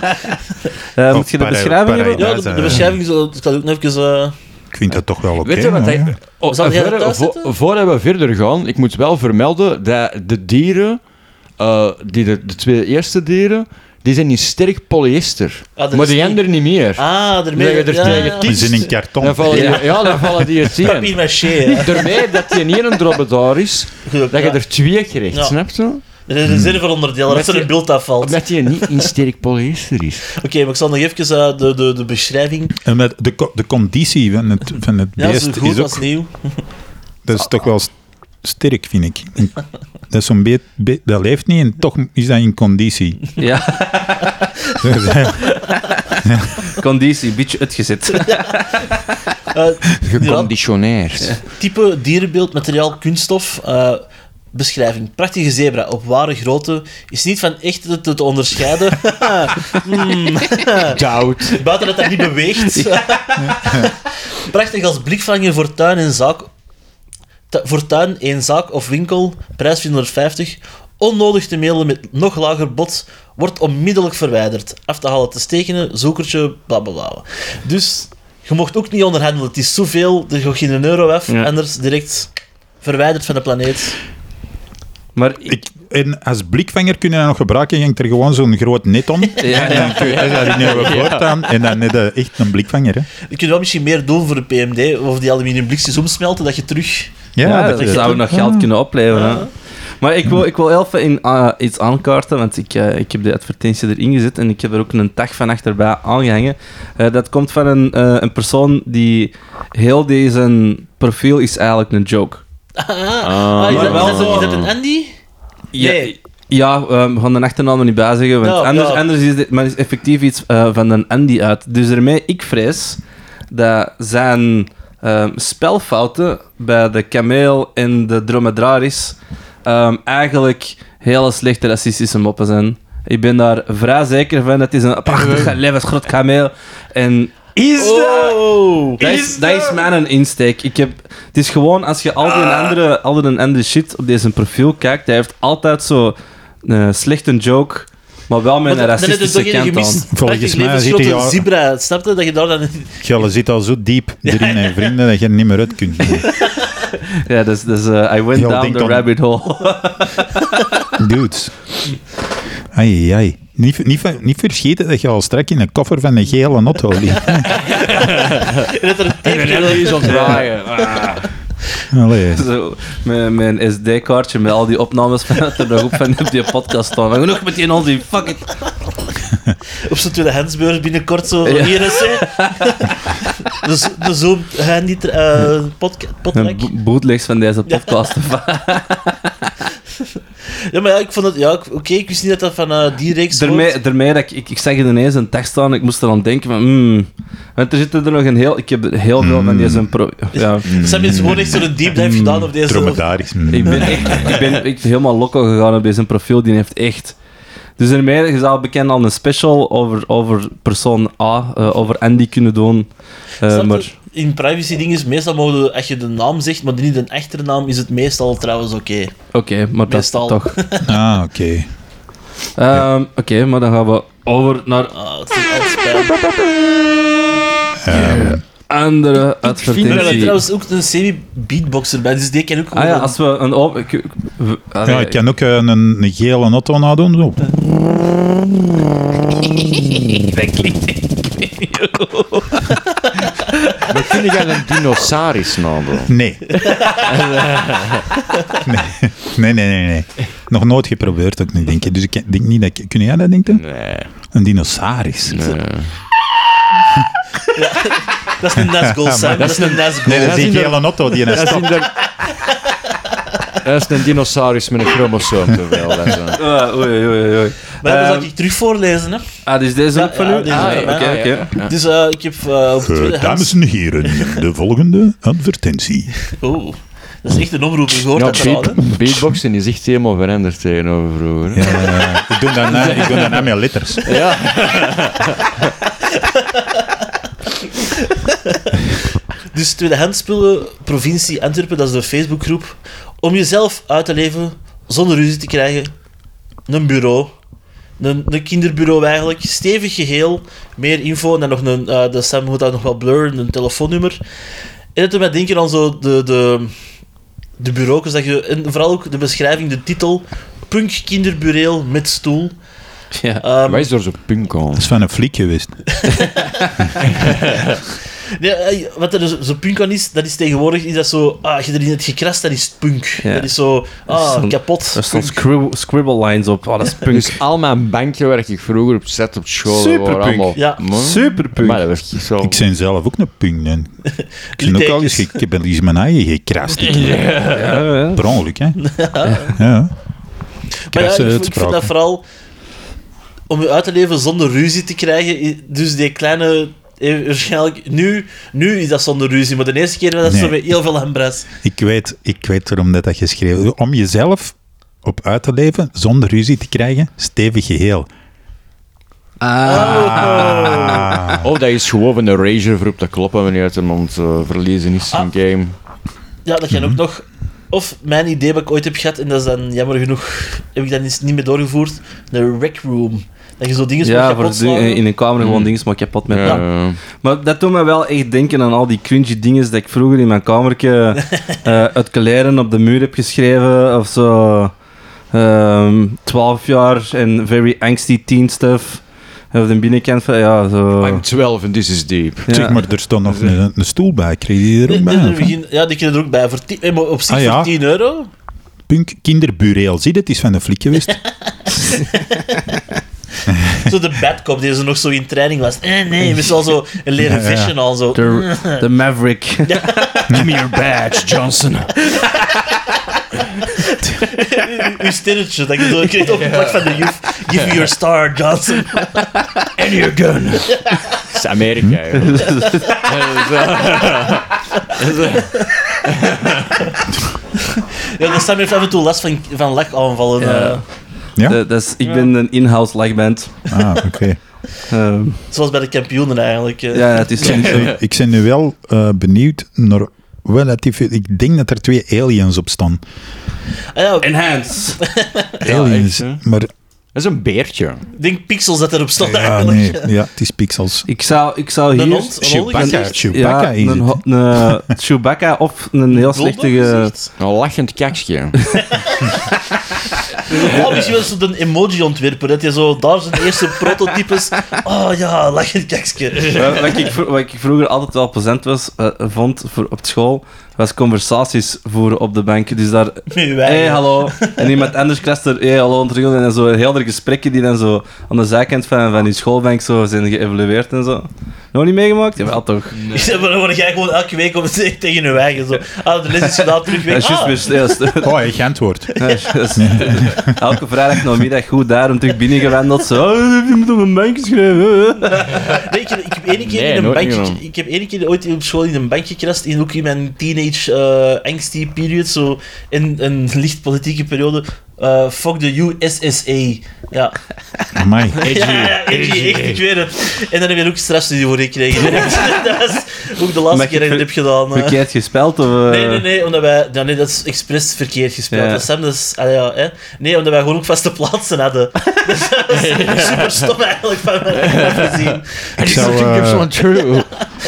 Eh,
Of
moet je de
para-
beschrijving hebben?
Ja,
Ja, dat,
de, de
eh,
beschrijving, zo, ik kan ook nog even... eh,
Ik vind dat toch wel oké.
Weet je wat
maar,
hij-
ja.
Oh,
Zal jij dat
voor,
thuis
voor,
zetten?
voordat we verder gaan, ik moet wel vermelden dat de dieren, eh, die de, de twee eerste dieren, die zijn in sterk polyester.
Ah, dat
maar
is
die
niet-
anderen niet meer.
ah, daarmee...
Nee, er is
ja,
tegen
ja,
tien.
Die zijn in karton.
dan vallen die, ja. dan vallen
<laughs>
die het
Papier
in.
maché, hè.
Daarmee dat die niet een dromedaris is, <laughs> dat je er twee krijgt,
Ja.
snap je?
Er is een reserveonderdeel,
Met
dat er
je-
een beeld afvalt.
Omdat die niet in sterk polyester is.
Oké, maar ik zal nog even eh, de, de, de beschrijving.
En met de, co- de conditie van het, van het
Ja,
beest
zo goed
is
als
ook...
nieuw.
Dat is toch wel st- sterk, vind ik. Dat is zo'n beet, beet- Dat leeft niet en toch is dat in conditie.
<laughs> Ja,
<laughs>
conditie, beetje uitgezet.
Eh,
Geconditioneerd.
type dierenbeeld, materiaal, kunststof. eh, beschrijving. Prachtige zebra op ware grootte. Is niet van echt te, te- te onderscheiden.
Koud.
Buiten dat dat niet beweegt. Prachtig als blikvanger voor tuin en zaak. Tu- voor tuin, één zaak of winkel. Prijs 450. Onnodig te mailen met nog lager bod. Wordt onmiddellijk verwijderd. Af te halen, te stekenen, zoekertje, bla bla bla. Dus je mocht ook niet onderhandelen. Het is zoveel, er gaat geen euro af.
Ja.
Anders direct verwijderd van de planeet.
Maar ik...
Ik, en als blikvanger kun je dat nog gebruiken. Je hangt er gewoon zo'n groot net om.
<laughs> Ja, ja.
Dan kun je dat in je voortaan. En dan heb je echt een blikvanger. Hè.
Je kunt wel misschien meer doen voor de PMD. Of die aluminium blikjes omsmelten, dat je terug...
Ja,
Ja,
dat
dat
is
zou
ook-
nog geld kunnen opleveren. hè. Maar ik wil, ik wil heel even in, eh, iets aankaarten, want ik, eh, ik heb de advertentie erin gezet en ik heb er ook een tag van achterbij aangehangen. Eh, dat komt van een, eh, een persoon die heel deze profiel is eigenlijk een joke.
Ah, is,
maar
dat,
wel
is dat-
zo.
is dat een Andy?
Ja,
Nee.
ja eh, we gaan de achternaam er niet bij zeggen, want
Ja,
anders,
ja.
anders is dit maar is effectief iets eh, van een Andy uit. Dus daarmee, ik vrees dat zijn ehm, spelfouten bij de kameel en de dromedaris ehm, eigenlijk hele slechte racistische moppen zijn. Ik ben daar vrij zeker van. Het is een prachtig levensgroot kameel. En is dat...
Oh.
Dat is, dat is mijn insteek. Ik heb, het is gewoon, als je al die, andere, al die andere shit op deze profiel kijkt, hij heeft altijd zo een slechte joke, maar wel met een
Maar dan- dan is
racistische
er toch
kant
enige
aan.
mis.
Volgens
Prachtig
mij zit
levensgrote
hij al-
zebra. Snap je dat je daar dan...
Je zit al zo diep erin, hè, vrienden, dat je er niet meer uit kunt.
Ja, dus, dus eh, I went
Heel
down
ding
the
dong.
rabbit hole. <laughs>
Dudes. Ai, ai. Niet, niet, ver- niet vergeten dat je al strak in een koffer van een gele auto
<laughs>
ligt.
Dat er een
Die is
tape-
ontdraaien.
Allee.
Zo, met mijn SD-kaartje met al die opnames vanuit de groep van op die podcast staan. Maar Genoeg met die onzin, fuck it.
op zo'n tweedehandsbeurs binnenkort zo
Ja.
hier is hè. De zo- De zoom handy eh podca-
Een
potrek.
bo- bootlegs van deze podcast.
Ja, maar ja, ik vond het ja, ik- oké, ik wist niet dat dat van eh, die reeks
Daarmee,
hoort.
daarmee dat ik, ik, ik zag het ineens een tekst staan en ik moest eraan denken van... hmm. want er zitten er nog een heel... Ik heb er heel veel
Hmm.
van deze... Pro, ja.
Sam heeft gewoon echt zo'n deep
Mm,
dive gedaan op deze.
Dromedaris.
Ik
<laughs>
ben echt ik ben echt helemaal loco gegaan op deze profiel. Die heeft echt... Dus in mij is al bekend al een special over, over persoon A, eh, over Andy kunnen doen. Eh,
Snap je?
maar
In privacy dingen is meestal mogen we- als je de naam zegt, maar niet de achternaam, is het meestal trouwens oké.
oké, maar dat is
Meestal. <laughs>
toch.
Ah, oké.
Ehm, oké, maar dan gaan we over naar
Ah, het is- het is spijt.
andere
Maar er is
advertentie.
trouwens ook een semi-beatboxer bij, dus die kan ook
Ah ja,
gewoon-
als we een... open- ik- ik- we- ah, allee,
Ja, ik kan ook eh, een, een gele auto nadoen. Oh. Zo.
Maar kun je een dinosaurus nadoen?
Nee. <laughs> nee. Nee, nee, nee, nee. Nog nooit geprobeerd ook niet, denk ik. Dus ik denk niet dat... ik- Kun jij dat denken?
Nee.
Een dinosaurus.
Dat is een Nazgul,
<laughs>
Simon. Dat is een Nazgul.
Nee, dat
dat
is
is
die
inderdaad-
hele auto die een
Dat is,
stap.
dat is een dinosaurus met een chromosoom te veel. Dat is een-
Ah, oei, oei, oei, oei.
Maar dat zal
Ehm,
ik terug voorlezen, hè.
ah, dus deze
Ja,
ook van
ja,
u?
deze
Ah,
is
oké,
van mij.
oké.
Dus eh, ik heb eh, op tweede
dames en heren, de volgende advertentie.
Oh, dat is echt een omroep. Je hoort
Ja,
dat al, hè.
beat- beatboxen is echt helemaal veranderd tegenover vroeger. hè.
Eh, ik doe dat na, ik doe dat na met letters.
Ja.
Dus tweedehands spullen, provincie Antwerpen, dat is de Facebookgroep. Om jezelf uit te leven zonder ruzie te krijgen. Een bureau. Een, een kinderbureau eigenlijk. Stevig geheel. Meer info. En dan nog een... eh de Sam moet dat nog wel blurren. Een telefoonnummer. En het doet mij denken aan zo de... de de bureaus dat je... En vooral ook de beschrijving, de titel. Punk kinderbureau met stoel.
Ja.
Ehm,
Wij is door zo'n punk aan.
Dat is van een fliek geweest.
Nee, eh, wat er zo, zo punk aan is, dat is tegenwoordig is dat zo, ah, als je erin hebt gekrast, dat is punk.
Ja.
Dat is zo,
is
ah,
zo'n-
kapot.
Er staan
punk.
scrib- scribble lines op. Oh, dat is punk.
Dus al mijn bankje waar ik vroeger op zat op school...
Superpunk.
waren allemaal-
Ja.
Maar-
Superpunk.
Maar dat werd niet zo...
Ik ben zelf ook een punk. hè. Ik, ben ook al eens, ge- ik ben eens mijn eigen gekrast. Ik-
Ja, ja.
Per ongeluk, hè. Ja.
Maar ja, ik,
Krassen
vind- ik vind
uitspraken.
dat vooral om je uit te leven zonder ruzie te krijgen. i- Dus die kleine, eh, waarschijnlijk, nu, nu is dat zonder ruzie, maar de eerste keer was dat
Nee.
zo met heel veel hembras.
Ik weet, ik weet waarom dat dat geschreven is. Om jezelf op uit te leven, zonder ruzie te krijgen, stevig geheel. Ah.
Of dat is gewoon een rager voor op te kloppen wanneer het iemand eh, verliezen is in
Ah.
game.
Ja, dat kan
Mhm.
ook nog. Of mijn idee wat ik ooit heb gehad, en dat is dan jammer genoeg, heb ik dat eens niet meer doorgevoerd, de rec room. Dat je zo dingen
Ja,
moet
voor
kapot
de-
slaan.
in een kamer gewoon dingen maar kapot met.
Ja.
Maar dat doet me wel echt denken aan al die cringy dingen dat ik vroeger in mijn kamertje eh uit kleren op de muur heb geschreven. Of zo. ehm 12 jaar en very angsty teen stuff. Of de binnenkant van, ja, zo.
I'm 12 and this is deep.
Ja.
Zeg maar, er stond nog een, een stoel bij. Kreeg je er ook
Nee,
bij?
nee,
of wat?
nee, begin- ja, die kun je er ook bij. Voor tien- eh, maar op zich
Ah, ja.
voor 10
<laughs>
euro.
Punk kinderbureel. Zie je, het is van een fliek geweest.
Zo de badkop die ze nog zo in training was. Eh, nee, met zo'n zo een leren
Ja, ja.
visje al zo.
De, de Maverick.
Give me your badge, Johnson.
Uw eh, sterretje dat je zo kreeg op de plak van de juf. Give me your star, Johnson.
And your gun. Dat is Amerika, joh. eh, <laughs>
Ja, dan Sam heeft af en toe last van, van lakaanvallen.
Ja.
eh,
Ja?
Dat- dat is, ik ben een in-house lagband.
Ah, oké.
Ehm,
zoals bij de kampioenen eigenlijk. eh.
ja, het is
Ik- Ik ben nu wel eh, benieuwd naar wel dat die veel- Ik denk dat er twee aliens op staan.
Ah, ja, ik
Enhance.
Aliens.
echt,
maar
Dat is een beertje.
denk pixels dat erop stond <laughs>
ja,
eigenlijk.
nee. Ja, het is pixels.
Ik zou, ik zou
Een
hier...
hond, een hond
Chewbacca.
gezicht.
Chewbacca
ja,
is
een, ho-
het.
een Chewbacca of een heel
Bulldog
slechte... ge-
gezicht.
Een lachend <laughs> kakje.
Oh, misschien wel zo'n emoji-ontwerper. Dat je zo daar zijn eerste
<laughs>
prototypes. Oh ja, lachend <laughs> kakske.
Eh, wat, ik, vro- wat ik vroeger altijd wel plezant was, eh, vond voor, op school, was conversaties voeren op de bank. Dus daar,
Met uw
hey,
eigen. <laughs>
hallo. En iemand anders krast er, hey, hallo, en terug. En dan zo heel de gesprekken die dan zo aan de zijkant van, van die schoolbank zo zijn geëvalueerd en zo. Nog niet meegemaakt? Jawel, toch.
Ik zeg, maar dan word jij gewoon elke week op het zeggen tegen je eigen. Zo. Ah, de les is gedaan, terug
Dat
weg.
is
Ah,
juist weer stil.
Oh, ik antwoord.
Elke vrijdag namiddag goed daarom terug
<laughs>
binnengewandeld. Zo, oh, je moet op een bank schrijven.
nee, ik, heb, ik heb één keer
Nee,
in een
nooit
bankje...
gedaan.
Ik heb één keer ooit op school in een bankje gekrast. In, ook in mijn teenage eh angsty period. Zo in een licht politieke periode. eh, fuck the USSA. Ja.
Amai.
Ja, ja, ik, ik, ik weet het. En dan heb je ook strafstudie voor gekregen. direct. dat is ook de laatste
Maar
keer dat ik dat heb gedaan. eh.
Verkeerd gespeld? Of, eh?
Nee, nee, nee, omdat wij... Ja, nee, dat is expres verkeerd gespeeld.
Ja.
Dat Sam, dat is... ah ja, hè. Nee, omdat wij gewoon ook vaste
<laughs>
plaatsen hadden. Dus dat was super stom eigenlijk van mij gezien.
Ik zou, eh,
true.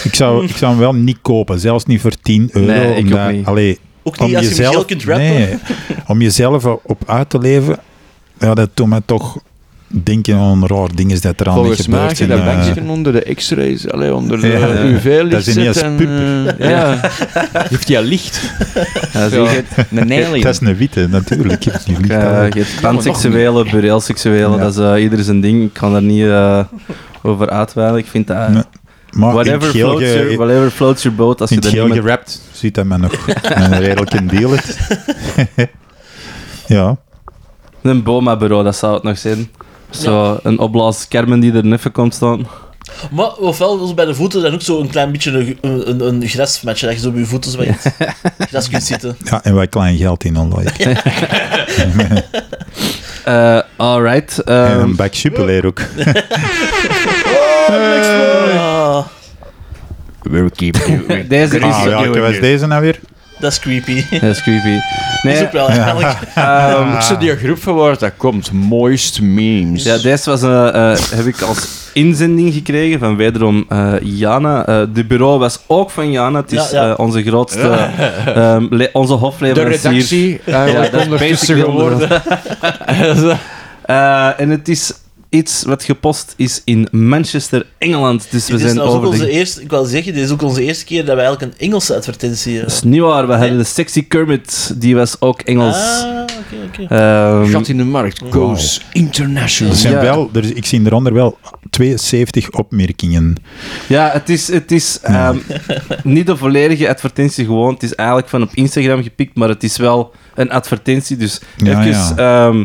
ik, zou, ik zou hem wel niet kopen. Zelfs niet voor 10 euro.
Nee, ik
omdat-
ook niet.
Allee,
<laughs> Ook
om
niet als je hem
jezelf,
heel kunt rappen.
nee, om jezelf op uit te leven, ja, dat doet mij toch denken aan raar dingen dat er aan
Volgens mij
gebeurt.
had je
in,
dat
eh,
bankje onder de x-rays, allee, onder de
Ja, ja.
UV-licht
Dat is niet als pup.
ja. Heeft hij licht?
Ja, zie
Ja.
je het? Een alien.
dat is een witte, natuurlijk. Ik heb die licht
Ja,
al.
eh, je hebt panseksuele, bureelseksuele,
Ja.
dat is eh, ieder zijn ding. Ik kan daar niet eh, over uitweiden. Ik vind dat...
Nee. maar in
Whatever
het geel,
floats,
ge-
your, whatever floats your boat, als
in
je
het
dat
geel
niet met-
gerapt ziet dat men nog een redelijk in
<laughs>
deel het. ja.
Een BOMA-bureau, dat zou het nog zijn. Zo, een opblaaskermen die er neffen komt staan.
Maar ofwel was bij de voeten dan ook zo een klein beetje een, een, een, een grasmatje, dat je zo op je voeten
<laughs>
zo wat gras kunt zitten.
ja, en wat klein geld in online.
Eh alright. ehm,
en een bak superleer ook.
Ah,
We'll keep
<laughs>
you.
deze is...
Ah, welke was deze nou weer?
dat is creepy.
Ja, dat is creepy. Nee,
is ook wel
<laughs>
eigenlijk.
Ah.
ehm,
Ook zo die groep van waar dat komt, mooist memes.
ja, deze was, eh, eh, heb ik als inzending gekregen van wederom eh, Jana. Eh de bureau was ook van Jana. Het is
Ja, ja.
eh, onze grootste... ehm, le- onze
de
hofleverancier.
redactie,
eh,
Ja,
eigenlijk
dat is
ondertussen
basically
geworden.
<laughs> Eh, en het is iets wat gepost is in Manchester, Engeland. Dus we
Dit is
zijn
trouwens ook
over de...
onze eerste, ik wil zeggen, dit is ook onze eerste keer dat we eigenlijk een Engelse advertentie
Dat
hebben.
is niet waar. We hadden de Sexy Kermit. Die was ook Engels.
Ah, oké, oké.
Ehm,
Gat in de markt, goes international.
Er zijn
Ja.
wel, er, is- ik zie eronder wel 72 opmerkingen.
ja, het is, het is ehm,
<laughs>
niet de volledige advertentie gewoon. Het is eigenlijk van op Instagram gepikt, maar het is wel een advertentie. Dus
Ja,
even, ehm,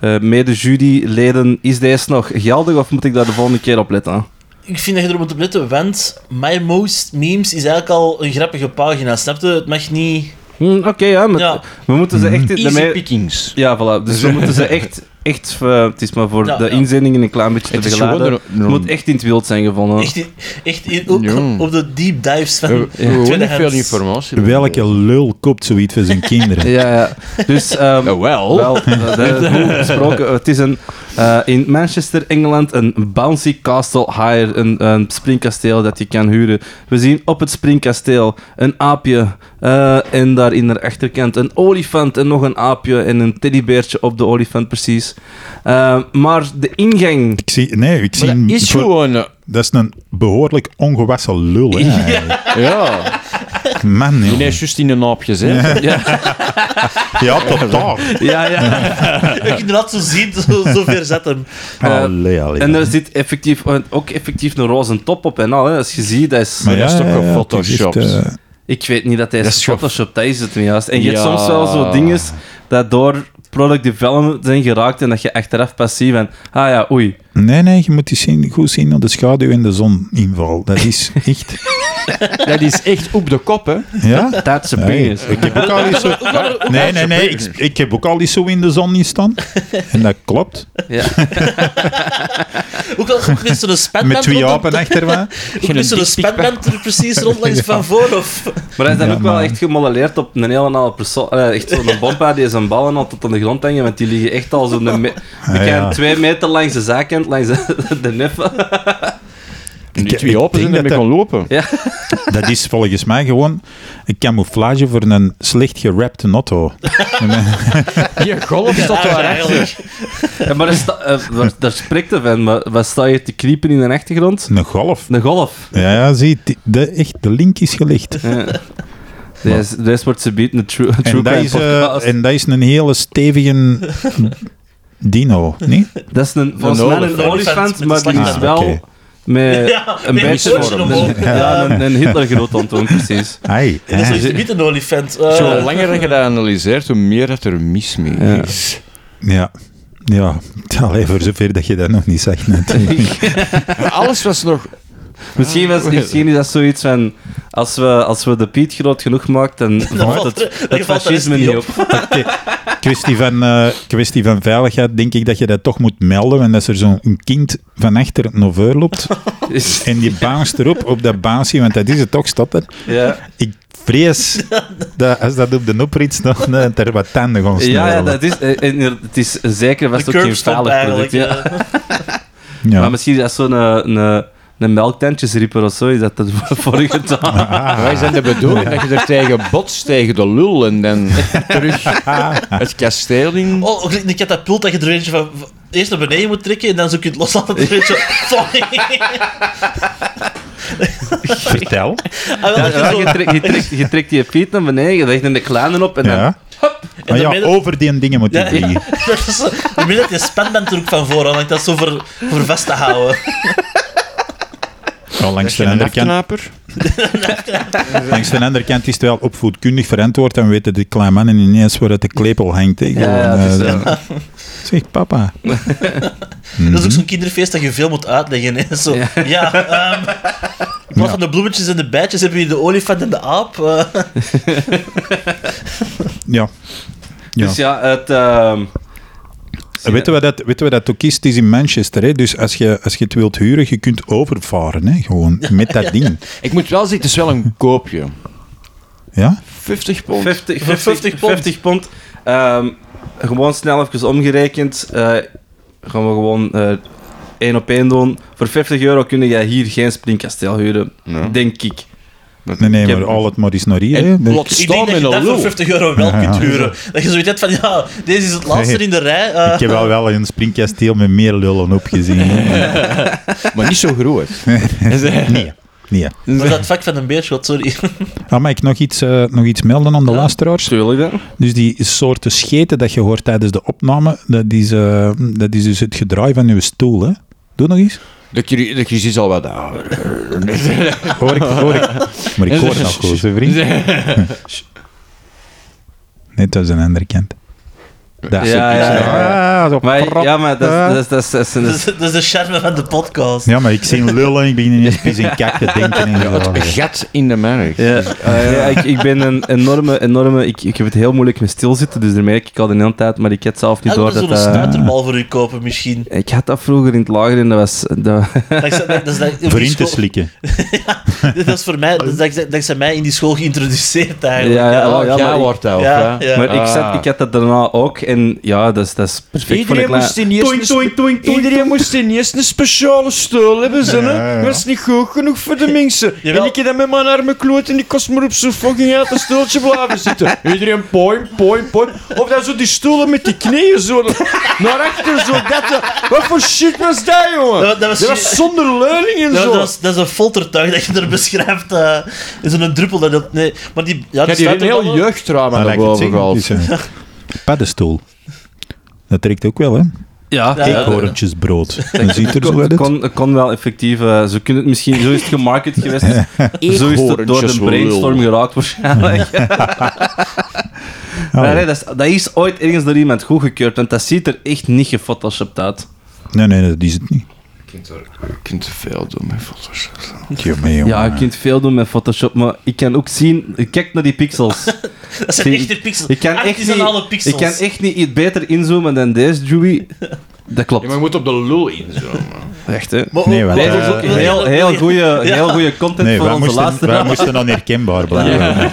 eh, mede juryleden, is deze nog geldig of moet ik daar de volgende keer op letten?
Ik vind dat je erop moet letten, want My Most Memes is eigenlijk al een grappige pagina, snap je? Het mag niet...
Hm, Oké, ja, maar
Ja.
we moeten ze echt...
Easy
daarmee-
pickings.
Ja, voilà. Dus
<laughs>
we moeten ze echt... echt eh, het is maar voor
Ja,
de
ja.
inzendingen een klein beetje
Het
te
is gewoon
begeleiden.
een- een-
Het moet echt in het wild zijn gevonden.
Echt, in- echt in- op,
Ja.
op de deep dives van
We
<laughs>
we hebben niet
tweedehands.
veel informatie.
Welke lul koopt zoiets voor
<laughs>
zijn kinderen?
Ja, ja. Dus... ehm,
Oh, wel.
Wel, dat- dat- goed gesproken. Het is een, eh, in Manchester, Engeland, een bouncy castle hire, een, een springkasteel dat je kan huren. We zien op het springkasteel een aapje eh, en daar in de achterkant een olifant en nog een aapje en een teddybeertje op de olifant precies. Eh, maar de
<laughs>
ingang...
Ik zie, nee, ik zie
Maar dat is
voor-
gewoon... eh,
dat is een behoorlijk ongewassen lul. Hè, eigenlijk.
Ja,
Man, joh.
die is juist in een naapje zitten.
Ja,
ja, totaal.
ja, ja.
Ik inderdaad zo zien, zo, zo ver zet hem.
Allee, allee.
En er zit effectief, ook effectief een roze top op en al. Hè. Als je ziet, dat is...
Maar dat is toch een
het is echt,
Photoshop?
eh,
Ik weet niet dat hij
Dat
is
is gewoon-
Photoshop, dat is het niet juist. En je hebt
Ja.
soms wel zo dingen dat door product development zijn geraakt en dat je achteraf passief en ah ja, oei.
nee, nee, je moet die zien, goed zien naar de schaduw en de zoninval.
<laughs>
Dat is echt...
Dat is echt op de kop, hè.
ja?
That's a
Nee,
penis.
ik heb ook
<laughs>
al eens zo... Nee, nee, nee, ik, ik heb ook al eens zo in de zon niet staan.
<laughs>
En dat klopt.
Ja.
Ook al ook met zo'n spanband
Met twee
rond-
apen achter me.
<laughs>
Ook met zo'n spanband er precies rond langs van voor of...
Maar hij is dan
Ja,
ook wel
maar-
echt gemodelleerd op een hele oude persoon. eh, echt
<laughs>
zo'n bompa die zijn ballen al tot aan de grond hangen, want die liggen echt al zo'n me- bekend
Ah, ja.
twee meter langs de zijkant, langs de, <laughs> de neffen.
En
Ik-
die twee
ik
open zijn
denk
ermee
dat
gaan lopen.
Dat is volgens mij gewoon een camouflage voor een slecht gerapte auto.
Die golf staat
Ja,
daar achter.
eigenlijk.
Ja, maar er sta- eh, daar, daar spreekt hij van, maar wat sta je te kriepen in de achtergrond?
Een golf.
Een golf.
Ja, ja, zie, die- de, echt, de link is gelegd. <laughs>
Ja. Deze, deze wordt ze beat een true, een true
En dat,
crime
is, eh,
podcast.
en dat is een hele stevige dino, niet?
dat is een, volgens mij
olifant.
een olifant,
Met
maar die
een
is
slang.
wel
Ah, oké.
met
<laughs> Ja,
een
met een
beetje
oortje omhoog.
een, ja, een, een Hitlergroot aan het
<laughs>
doen, precies.
Ai,
Dat is
hè.
echt niet een olifant. eh.
Zo langer dat je dat analyseert, hoe meer dat er mis mee
Ja.
is.
Ja. Ja, <laughs> alleen voor zover dat je dat nog niet zegt. natuurlijk.
<laughs>
Maar Alles was nog...
Misschien, was, misschien is dat zoiets van, als we, als we de Piet groot genoeg maken,
<laughs>
dan valt
valt er-
het, het
dan valt de rest
fascisme
niet
niet op.
kwestie, van, eh, kwestie van veiligheid, denk ik dat je dat toch moet melden. En dat er zo'n kind van achter naar voren loopt
<laughs> Is-
en die baanst erop op dat baansie, want dat is het toch, staat er.
ja.
Ik
<laughs>
vrees dat als dat op de oprit staat, dat er wat tanden gaan
Ja,
snorrelen.
ja, dat is, eh, en er- het is zeker
De
vast ook
curb
geen
stond
veilig product.
eigenlijk.
Ja.
eh.
Ja.
Maar misschien is dat zo'n eh, een, een, een melktandjesrieper of zo, is dat ervoor
<laughs>
gedaan.
Wij zijn de bedoeling dat je er tegen botst, tegen de lul, en dan terug het kasteel in.
Oh, ook een katapult dat je er eentje van, eerst naar beneden moet trekken en dan zo kun je het loslaten. Dan weet je, sorry.
Vertel.
Ah, wel, dat je
Ja,
zo-
je, trekt, je, trekt, je trekt die piet naar beneden, je legt in de kleinen op en dan...
Ja.
in
Maar
de
ja,
midden-
over die dingen moet je
<laughs>
Ja,
vliegen.
dat is, je moet Dus, dat je spanband er ook van voor, om dat zo voor, voor vast te houden.
Ja, langs, de andere kant,
afknaper.
langs de andere kant is het wel opvoedkundig verantwoord en weten de kleine mannen ineens waar het de klepel hangt. hè. Ik bedoel,
Ja, het is,
eh,
eh,
<laughs> Zeg, papa.
Dat is ook zo'n kinderfeest dat je veel moet uitleggen. Hè? Zo, ja, ehm, in plaats van de bloemetjes en de bijtjes hebben jullie de olifant en de aap. eh.
Ja. Ja.
Dus ja, het... ehm,
Weten we, dat, weten we dat ook is? Het is in Manchester. Hè? Dus als je, als je het wilt huren, je kunt overvaren. Hè? Gewoon met
<laughs>
dat ding.
Ik moet wel zeggen, het is wel een koopje.
Ja?
50
<laughs>
pond.
50,
Voor
50
50
pond.
pond.
Ehm, gewoon snel even omgerekend. eh, gaan we gewoon eh, één op één doen. Voor 50 euro kun je hier geen springkasteel huren.
Ja.
Denk ik.
Nee, nee,
Ik heb-
maar al het maar is naar hier.
En
hè. Dat-
plots-
Ik denk dat je
Stom en
dat voor
lul.
50 euro wel
nou, Ja, ja.
kunt huren. Dat je zoiets hebt van, ja, deze is het laatste
Nee.
in de rij. eh.
Ik heb al wel een springkasteel met meer lullen opgezien. hè.
Maar niet zo groot.
Nee. Nee.
Maar dat vak van een beerschot,
<laughs>
sorry.
Ah, mag ik nog iets, eh, nog iets melden aan de luisteraars?
Tuurlijk dan.
Dus die soorten scheten dat je hoort tijdens de opname, dat is, eh, dat is dus het gedraai van uw stoel. Hè? Doe nog eens.
De cru- de crisis al wat ouder.
Hoor ik, hoor ik. Maar ik hoor nog goed, hè,
<laughs>
vriend. Nee, dat is een andere kant. Daar.
Ja, ja, ja.
Ah, zo
Maar,
prop.
ja, maar dat is- dat is- dat is- dat is...
Dat
dat <laughs>
is,
is-
dat is de charme van de podcast.
Ja, maar ik zie een lul en ik begin ineens pis en kak te denken. En zo.
Een gat in de markt.
Ja, eh, ja, ik, ik ben een enorme, enorme... Ik, ik heb het heel moeilijk met stilzitten, dus daar merk ik al de hele tijd, maar ik heb zelf niet
Ik
door
moet
dat...
zo'n
eh,
dat-
stuiterbal voor u kopen,
<laughs>
misschien.
ik had dat vroeger in het lager en dat was... Dat,
Dat is, dat, dat is, dat,
Voor in te slikken.
<laughs> dat is voor mij,
<laughs>
dat is, dat, is- dat is aan mij in die school geïntroduceerd eigenlijk.
Ja, ja,
Oh,
ja, maar
jij
ik-
wordt dat, of
Ja,
wat?
ja.
Maar ik,
Ah.
zat, ik had dat daarna ook en ja, dat is, dat is perfect voor een
Iedereen
klein-
moest in eerst een spe- Iedereen moest in eerst een speciale stoel hebben, ze, hè?
Ja, ja.
Dat is niet goed genoeg
<laughs>
voor de mensen.
Jawel.
En ik heb dat met mijn arme kloot en die kost maar op zo'n fucking uit een stoeltje blijven zitten. <laughs> Iedereen poim, poim, poim. Of dan zo die stoelen met die knieën zo naar achter, zo dat. eh. Wat voor shit was dat, jongen?
Dat- dat was-
zonder leuning en
Dat,
zo.
dat, is, dat is een foltertuig dat je er beschrijft. eh is een druppel. Dat, dat- nee, maar die, ja,
Ik
die
heb hier een heel
stuiterballen-
jeugdtrauma
Maar
naar
lijkt het
boven
zeggen.
gehaald.
Dus, eh, paddenstoel. Dat trekt ook wel, hè?
Ja,
Ja, ja.
Eekhoorntjes brood. Dan ziet er
<laughs> kon,
zo uit. het.
kon, kon wel effectief. eh, ze kunnen het misschien, zo is het gemarket
<laughs>
geweest. zo is het door
Eekhoorntjes,
de brainstorm
lul.
geraakt
<laughs>
waarschijnlijk. <laughs> Maar nee, dat, is, dat is ooit ergens door iemand goedgekeurd, want dat ziet er echt niet gefotoshopt uit.
Nee, nee, dat is het niet.
Je kunt te veel doen met foto's.
Jongen, jongen.
Ja, je kunt veel doen met Photoshop, maar ik kan ook zien, kijk naar die pixels.
Dat zijn echte pixels.
Ik kan, echt niet,
alle
ik
pixels.
kan echt niet iets beter inzoomen dan deze, Joey. Dat klopt.
maar je moet op de lul inzoomen.
Echt, hè?
Maar
Nee,
ook-
wel,
ook-
Deze is
eh,
ook
ook-
heel, heel, goede, heel goede content
Nee,
voor
wij
onze
moesten,
laatste.
wij moesten onherkenbaar blijven.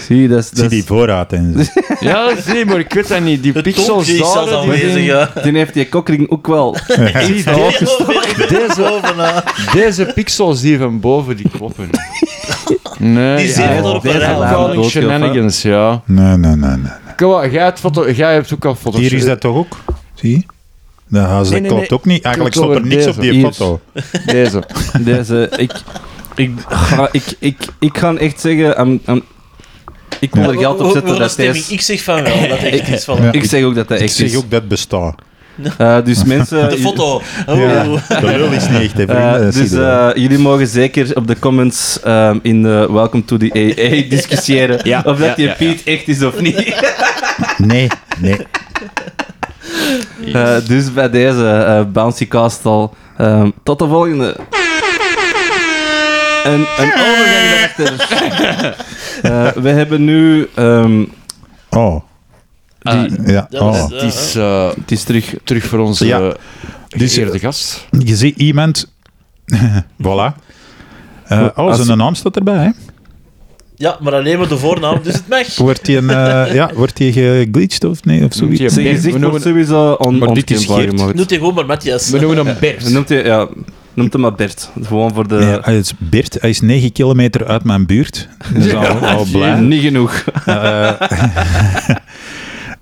<laughs>
Zie, dat is,
Zie
dat
die
is,
voorraad en zo.
Ja, dat zie, maar ik weet dat niet. Die
Het
pixels
toontje is
daar,
zelfs
die-
aanwezig. ja.
die heeft die kokring ook
<laughs>
wel. <laughs>
die- die-
Heel veel boven, eh.
Deze pixels hier van boven, die kloppen. Nee,
Die zeven
ja,
er op
deze
een rij.
calling
Doodgelopen.
shenanigans, ja.
Nee, nee, nee. nee.
Kom maar, jij, hebt foto, jij hebt ook al foto's. eh,
Hier is dat toch ook? Zie je? Dat, dat
Nee, nee,
klopt
nee.
ook niet. Eigenlijk
Klopt
stond er
over
niks
deze.
op die
Hier.
foto.
Deze.
Deze, ik, ik, ga, ik, ik, ik ga echt zeggen, ehm, ehm, ik wil er
Hoe-
geld op
hoe- hoe
zetten
wil
dat
stemming?
deze...
Ik zeg van wel, dat echt is van...
Ja.
Ik zeg ook dat dat
Ik
echt
zeg
is.
ook dat bestaat.
Eh, dus mensen...
De foto. Oh.
De lul is niet echt, hè,
eh,
vrienden. Dat
dus
zie je wel.
eh, jullie mogen zeker op de comments ehm, in de Welcome to the
<laughs>
AA discussiëren of dat die Piet echt is of niet.
Nee,
<laughs>
nee.
Eh, dus bij deze eh, Bouncy Castle. ehm, tot de volgende. Een, een overgang
<laughs>
erachter. Eh, we hebben nu. ehm,
Oh,
die,
ja.
Dat is,
Oh.
eh,
Het is eh,
het is terug.
terug voor onze
Ja.
ja.
Dus-
geëerde gast.
Je ziet iemand... <laughs> voilà. Eh oh,
Als-
zijn naam staat erbij, hè?
ja, maar alleen maar de voornaam, dus het mag.
Wordt hij <laughs> ja, wordt die geglitcht of nee, of zoiets?
Noemt
Zijn
Nee,
gezicht
we
wordt
noemen-
sowieso on,
Maar dit is
onherkenbaar
Geert.
gemaakt.
Noemt hij gewoon maar Matthias.
We noemen hem Bert.
Noemt hij, ja, noemt hem maar Bert. Gewoon voor de.
Nee, hij is Bert, hij is 9 kilometer uit Dus
Oh,
oh,
mijn buurt. Dat is al, al blij.
Niet genoeg.
Eh,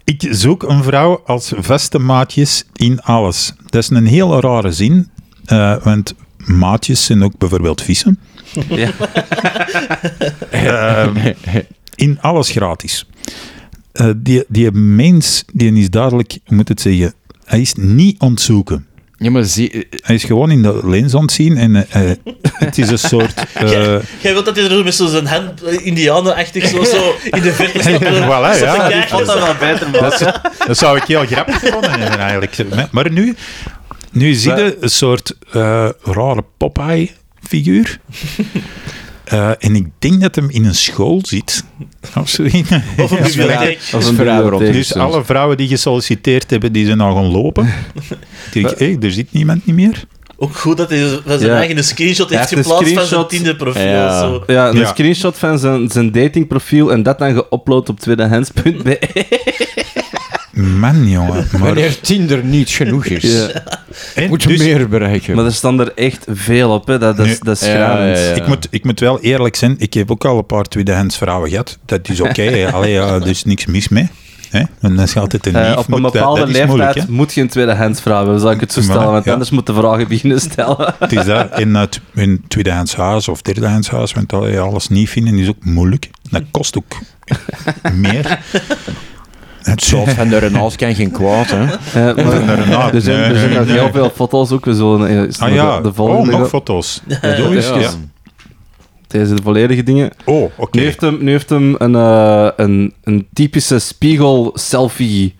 Ik zoek een vrouw als vestenmaatjes in alles. Dat is een heel rare zin, eh, want maatjes zijn ook bijvoorbeeld vissen.
Ja.
Ehm, in alles gratis. Eh, die, die mens, die is duidelijk, hoe moet ik het zeggen, hij is niet ontzoeken.
Ja, maar zie... eh,
Hij is gewoon in de lens ontzien en eh, eh, het is een soort... eh,
Jij wilt dat hij er met zo zijn hand, eh, indianenachtig, zo, zo in de verte staat.
Voilà,
Zo te
ja.
kijken,
Wat
zo.
dan wel beter, man.
Dat, dat zou ik heel grappig vinden hebben, eigenlijk. Nee, Maar nu, nu zie je een soort eh, rare
<laughs>
Popeye-figuur. Eh, en ik denk dat hem in een school zit. Of <laughs> zoiets.
Of een bibliotheek.
Dat is een
Verrader op.
bibliotheek.
Dus alle vrouwen die gesolliciteerd hebben, die zijn al gaan
<laughs>
lopen. Ik denk, hé, er zit niemand niet meer.
Ook goed dat hij van zijn
Ja.
eigen een screenshot heeft
heeft een
geplaatst van zijn
screenshot.
Tinder-profiel.
Ja.
Zo.
Ja, een
Ja.
screenshot van zijn, zijn datingprofiel en dat dan geüpload op
<laughs>
tweedehands.be.
Man, jongen. Maar,
<laughs> Wanneer Tinder niet genoeg is,
Ja.
en
moet je
dus-
meer bereiken.
<laughs> Maar er staan er echt veel op, hè. Dat, dat, is,
Nu-
dat is
Ja,
schrijnend.
ja, ja.
Ik, moet, ik moet wel eerlijk zijn, ik heb ook al een paar tweedehands vrouwen gehad. Dat is oké,
<laughs>
hè. Allee, ja, er is niks mis mee. Hè? Want dat is altijd een
Eh,
lief.
op
moet-
een
dat-
bepaalde
dat is
leeftijd
moeilijk, hè.
moet je een tweedehands vragen hebben, zou ik het zo stellen,
Maar,
want
ja.
anders moet de vragen beginnen
<laughs>
stellen.
Het is dat in het in tweedehands huis of derdehands huis, want dat je alles niet vinden is ook moeilijk. Dat kost ook
<laughs>
meer. Het
Zoals
soort
van de Renaults kan geen kwaad, hè.
Eh, maar
Inderdaad,
er zijn, er
nee,
zijn
nee,
nog
nee.
heel veel foto's ook. We zullen eh,
Ah ja,
de, de
oh,
volgende...
nog foto's. Bedoel je?
Ja.
Ja.
Deze de volledige dingen.
Oh, oké.
Nu heeft hem, nu heeft hem een, eh, een, een typische spiegel-selfie.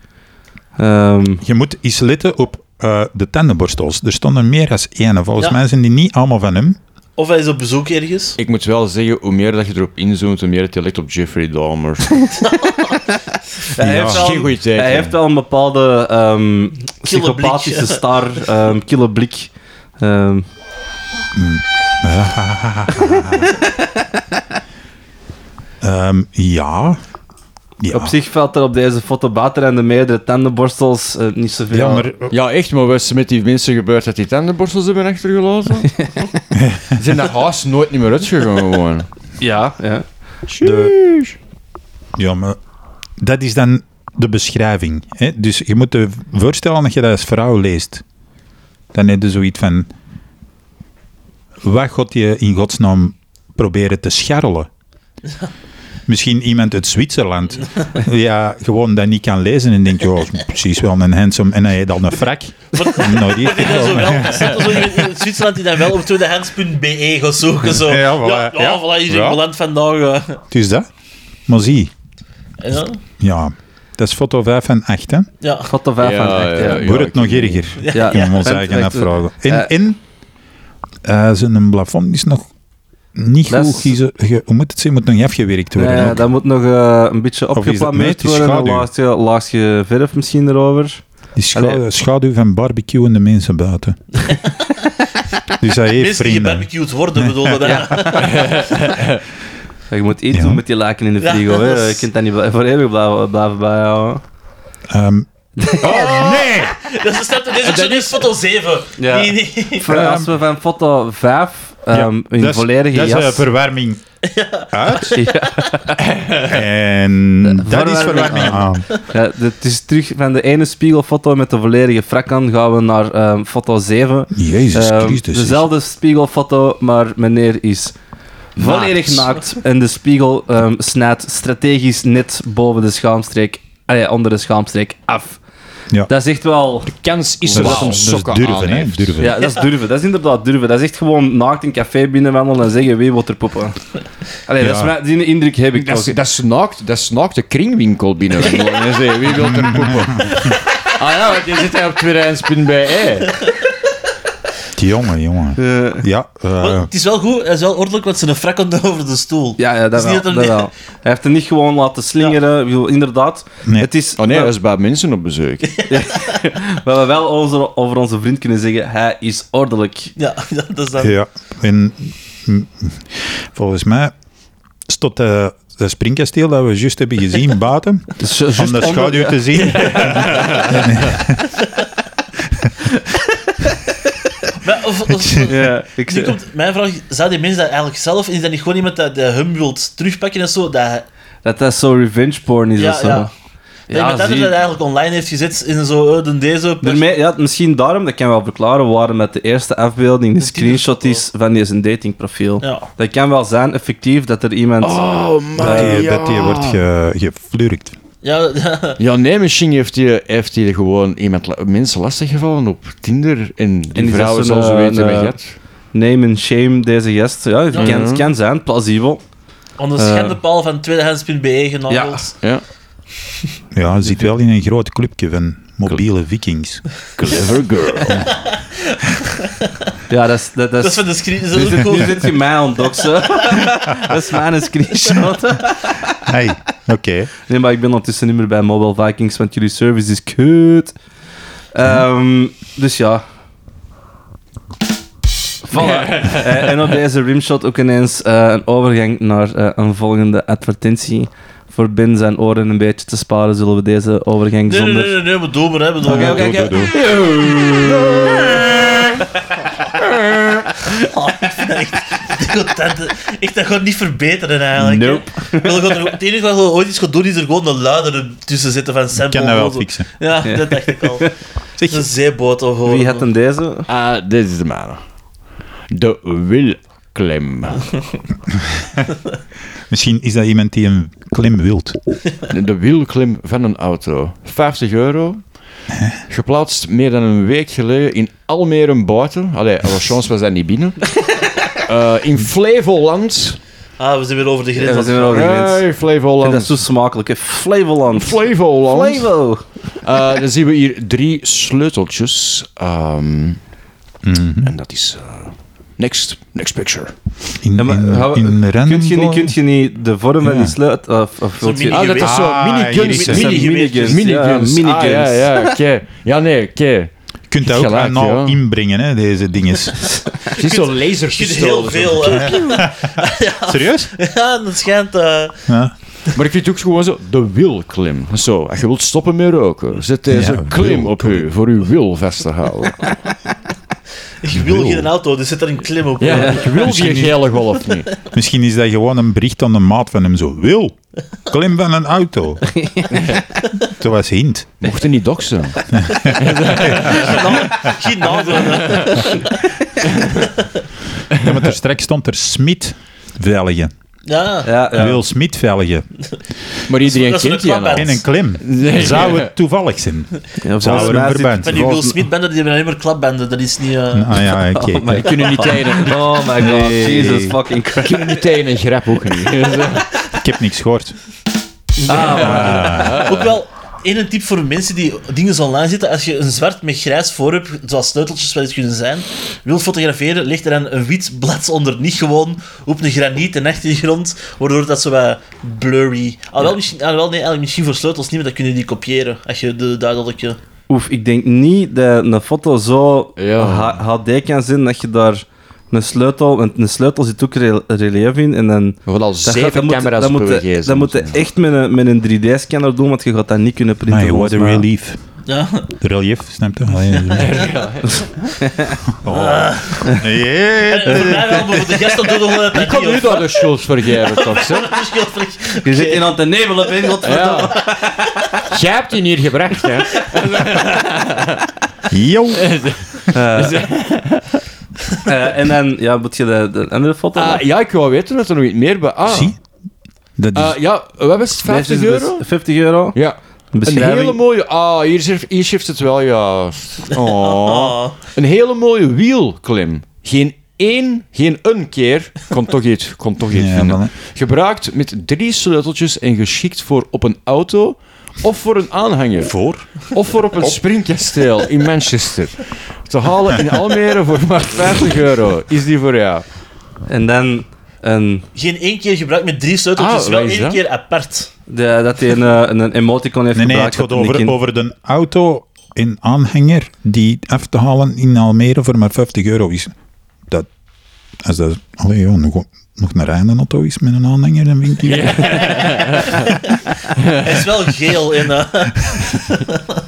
Ehm,
Je moet eens letten op eh, de tandenborstels. Er stonden meer dan één. Volgens
Ja.
mij zijn die niet allemaal van hem.
Of hij is op bezoek ergens.
Ik moet wel zeggen, hoe meer dat je erop inzoomt, hoe meer het je lijkt op Jeffrey Dahmer.
hij,
Ja.
heeft
Dat is geen
wel,
goede tijd.
hij heeft wel een bepaalde ehm psychopathische
blik.
star, ehm kille blik. Ehm,
Ehm, ja. ja.
Op zich valt er op deze foto buiten en de meerdere tandenborstels eh, niet zoveel.
Ja, maar
Ja, echt, maar wat is er met die mensen gebeurd dat die tandenborstels hebben achtergelaten? Ze zijn dat huis nooit niet meer uitgegaan, gewoon.
ja, ja.
Ja, maar dat is dan de beschrijving. Hè? Dus je moet je voorstellen dat je dat als vrouw leest. Dan heb je zoiets van... Wat gaat je in godsnaam proberen te scharrelen? Misschien iemand uit Zwitserland. Ja, gewoon dat niet kan lezen en denkt, oh, precies wel een handsome... En hij heeft al een frak. Nou, die heeft
Ik ben
hij
zo
al.
wel, er staat zo iemand in Zwitserland die dan wel op tweedehands.be gaat zoeken. E Zo.
Ja, voilà.
ja,
Ja.
voilà, hier is
Ja.
ik beland vandaag. eh.
Dus dat. Maar zie,
Ja,
ja... Dat is foto 5 en 8, hè?
ja.
Foto 5
Ja,
van het echt, ja.
ja,
Wordt het
ik-
nog erger?
Ja,
kunnen we ons
Vent,
eigen
vent,
afvragen. En,
eh,
en eh, zijn plafond is nog niet
Dat
goed.
is-
geze- ge- hoe moet het zijn? Moet nog niet afgewerkt worden.
Nee,
ook.
dat moet nog eh, een beetje
is het
opgeplameerd
mythisch
worden. Een
schaduw?
laagje, laagje verf misschien erover.
Die scha-
Allee.
schaduw van barbecuende mensen
<laughs>
buiten. dus hij heeft
Mensen die
vrienden.
gebarbecued worden, bedoel je <laughs> dat?
Ja, je moet iets
Ja.
doen met die laken in de
Ja,
frigo.
dat
hè.
is-
Je kunt dat niet bl- voor eeuwig blijven, blijven bijhouden.
Ehm, oh nee!
Dat is, dat, dit is, ook zo- dit is foto 7.
Ja.
Nee, nee.
Voor-
Ehm,
als we van foto 5
Ja,
ehm in
dat is-
volledige
dat is,
jas...
eh,
<laughs>
verwarming uit.
Ja.
En dat
verwarming
is verwarming Ah, aan.
Ja, het is terug van de ene spiegelfoto met de volledige frak aan, gaan we naar ehm, foto 7.
Jezus
Ehm,
Christus.
dezelfde spiegelfoto, maar meneer is volledig naakt. En de spiegel ehm, snijdt strategisch net boven de schaamstreek, ah ja, onder de schaamstreek af.
Ja.
Dat is echt wel...
Kans is
Dat is-
er dat hem
dat is
sokken aan
durven, hè?
heeft.
Durven.
Ja, dat is durven. Dat is inderdaad durven. Dat is echt gewoon naakt een café binnenwandelen en zeggen wie wil er poppen. Allee, dat is
Ja.
mijn, die indruk heb ik
Dat,
toch.
is- dat, is naakt, dat is naakt de kringwinkel binnen. Gewoon, hè, zeg, Wie wil
<laughs>
er poepen? Ah ja, want je zit daar op tweedehandspin bij. hè.
Die jongen, jongen.
Eh,
Ja, eh,
Maar Het is wel goed, het is wel ordelijk, want ze een frak onder over de stoel.
ja, ja, dat,
is niet
wel,
dat
dat
hem-
wel. Hij heeft het niet gewoon laten slingeren. Ik bedoel, inderdaad.
Nee.
Het is,
Oh nee, dat is bij mensen op bezoek.
We hebben wel onze- over onze vriend kunnen zeggen, hij is ordelijk.
Ja, <laughs> ja, dat is dan.
Ja, en mm, volgens mij stond eh, dat springkasteel dat we juist hebben
<laughs>
gezien buiten,
Dus
om de schaduw te zien.
Maar, of, of-
<laughs>
<laughs>
Ja, ik
Nu komt mijn vraag, zou die mensen dat eigenlijk zelf, is dat niet gewoon iemand dat de hem wilt terugpakken en zo? Dat,
Dat dat zo revenge porn is
ja,
of zo.
ja. Dat iemand anders
zie.
dat eigenlijk online heeft gezet in zo, eh, de deze... pers-
Daarmee, ja, misschien daarom, dat kan wel verklaren, waren met de eerste afbeelding de screenshot is van deze datingprofiel.
Ja.
Dat kan wel zijn, effectief, dat er iemand...
Oh, man.
Dat die,
ja.
dat die wordt ge, geflurkt.
Ja, <laughs>
Ja, nee, misschien heeft hij heeft die gewoon iemand, la- mensen lastiggevallen op Tinder. En die
En is dat
vrouwen
zo'n,
zal zo
eh,
weten
een,
wie
eh,
het.
Name and shame deze gest. Ja, het kan, het kan zijn, plausibel.
onder
Eh.
schendepaal van tweedehands.be genadeld.
Ja,
Ja, hij zit wel in een groot clubje van mobiele vikings.
clever girl.
Ja, dat is... Dat, dat
Dat is
is
van de screen. Dat is ook
nu
cool.
zit je mij aan het doxen.
<laughs>
dat is mijn screenshot.
Hey, oké.
Nee, maar ik ben ondertussen niet meer bij Mobile Vikings, want jullie service is kut. Ehm, dus ja. Voilà. Eh, en op deze rimshot ook ineens eh, een overgang naar eh, een volgende advertentie. Voor Ben zijn oren een beetje te sparen, zullen we deze overgang
Nee, nee, nee,
zonder...
nee, nee, maar doe maar, hè. bedoel,
Oké, oké,
Doe,
oké.
doe, doe.
Ah, God, dat, ik dat gewoon niet verbeteren eigenlijk. hè.
Nope.
Ik wil gewoon- Het enige wat we ooit eens gaan doen is er gewoon een luidere tussen zitten van sample.
Ik kan dat wel
zo.
fixen.
Ja, dat dacht ik
<laughs>
al.
Zeg,
Een zeeboot of gewoon.
Wie had hem deze?
Ah, dit is de man. De wilklem.
Misschien is dat iemand die een klim wilt.
De wielklim van een auto. 50 euro. Geplaatst meer dan een week geleden in Almere buiten. Allee, chance was dat niet binnen. Eh, in Flevoland.
Ah, we zijn weer over de grens.
Ja, we zijn weer over de grens.
Hey,
En dat
Flevoland.
is zo smakelijk, hè. Flevoland.
Flevoland.
Flevo.
Eh, dan zien we hier drie sleuteltjes. Ehm, En dat is... eh, next. Next picture.
In,
Ja,
in,
maar hou-
in
Kunt je, niet,
Randall-
kunt je niet de vorm van die sluit... Of, of wilt je-
mini-
Ah, dat is zo.
Ah, hier is
Miniguns.
het.
Miniguns.
Miniguns,
Miniguns.
ja,
Ah,
eh, miniguns.
ja, ja, oké. Ja, nee, oké.
Je kunt dat ook
Gelijk,
allemaal
ja.
inbrengen, hè,
<laughs>
deze dinges.
Het is zo
Je kunt heel
laserpistool.
veel. eh, <laughs>
Serieus?
ja, dat schijnt. eh,
Ja.
Maar ik vind het ook gewoon zo, de wilklim. Zo, als je wilt stoppen met roken, zet deze
Ja,
klim op u, voor uw wil vast te houden.
ik wil geen auto, dus zit er een klim op.
Ja, ik wil die gele golf niet.
Misschien is dat gewoon een bericht aan de maat van hem zo. Wil, klim van een auto. Dat was hint.
Mocht je niet doxen.
<laughs> Geen auto. hè.
Ja, maar er straks stond er Smit velgen.
Ja.
Ja, ja.
Wil Smit velgen.
Maar iedereen
Dat is
kent
een
die nou. aan.
kwaband.
En een klim.
Nee.
Zou het toevallig zijn?
Ja, volgens
Zou er
mij
een
zit-
verband
Van die Will
Volgens-
Smith-banden, die hebben alleen maar klapbanden. Dat is niet... eh,
Ah ja, oké.
Die kunnen niet
<laughs>
tegen, die
Oh my god, Jesus fucking Christ.
kunnen niet tegen een grap ook niet.
Ik heb niks gehoord.
Ook wel één een tip voor mensen die dingen online zitten. Als je een zwart met grijs voor hebt, zoals sleuteltjes wel eens kunnen zijn, wilt fotograferen, ligt er dan een wit blad onder. Niet gewoon op een graniet en achtergrond, waardoor dat zo wat blurry... Alhoewel, misschien, alhoewel nee, eigenlijk misschien voor sleutels niet, maar dat kunnen die kopiëren. Als je de duidelijke...
Oef, ik denk niet dat een foto zo
Ja.
H- HD kan zijn dat je daar een sleutel, want een sleutel zit ook rel- relief in en dan...
We al
dat gaat- dat
zeven
moet-
camera's
dat
op
moet,
uw
je- Dat moet je echt met een, met een 3D-scanner doen, want je gaat dat niet kunnen printen.
Nee, what
volgens
a
mij.
relief.
Ja,
De relief, snap je? Allee. <laughs> Oh. Yeah.
en voor mij wel, maar voor de gasten doen we dat
Ik kan
<laughs>
nu
niet.
daar de schuld voor geven, toch?
<laughs>
hè?
Je zit in aan het nebelen, Ben, godverdomme.
Ja. Jij hebt die hier gebracht, hè?
Yo.
<laughs>
<laughs> Eh, en dan, ja, moet je de, de andere foto...
Ah, ja, ik wou weten dat er nog iets meer bij... Ah,
Zie? Dat is...
Eh, ja, wat was het?
Deze is
50
dus
euro?
50 euro.
Ja. Een
Beschrijving.
hele mooie... Ah, hier, schrijf- hier schrijft het wel,
<laughs>
ja. Oh. Een hele mooie wielklim. Geen één, geen een keer. Kon toch iets, kon toch iets
Ja,
vinden.
man.
Gebruikt met drie sleuteltjes en geschikt voor op een auto... Of voor een aanhanger.
Voor?
Of voor op een springkasteel in Manchester. Te halen in Almere voor maar 50 euro. Is die voor jou?
En dan een...
Geen één keer gebruikt met drie sleuteltjes,
Ah,
wel
wat is
één
dat?
keer apart.
De, dat hij een, eh, een, een emoticon heeft
Nee, nee, het
gebruikt.
gaat
dat een
over,
kind-
over de auto in aanhanger die af te halen in Almere voor maar 50 euro is. Dat, als dat allee, joh, nog, nog een rijende auto is met een aanhanger, dan vind ik
<laughs>
die-
Hij is wel geel en... eh, <laughs>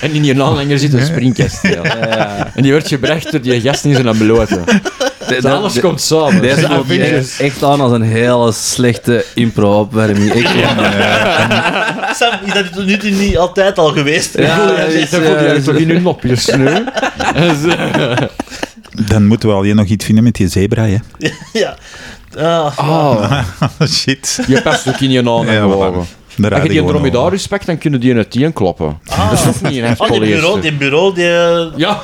En in je aanhanger zit een springkasteel. En die wordt gebracht door die gast in zijn ambulance.
De- de-
Dus Alles
de-
komt <laughs> samen. Dus
Deze
De
voelt
Avengers.
echt, echt aan als een hele slechte impro-opwarming. Ik
Sam, is dat tot nu toe niet altijd al geweest?
Ja,
Dat
is,
voel je
eh,
eigenlijk toch in hun nopjes nu? Dus, eh,
Dan moeten we alleen nog iets vinden met die zebra, hè.
<laughs> Ja. Ah,
ah,
Oh, Shit.
je past ook in je naam
Ja,
en
voilà.
gewoon.
Daar
Als
raad
je
ik
die
gewoon over.
dromedaris pakt, dan kunnen die in het tien kloppen. Dat is toch niet een
Ah,
oh, die
heftpolyester?
bureau, die bureau, die... eh,
Ja.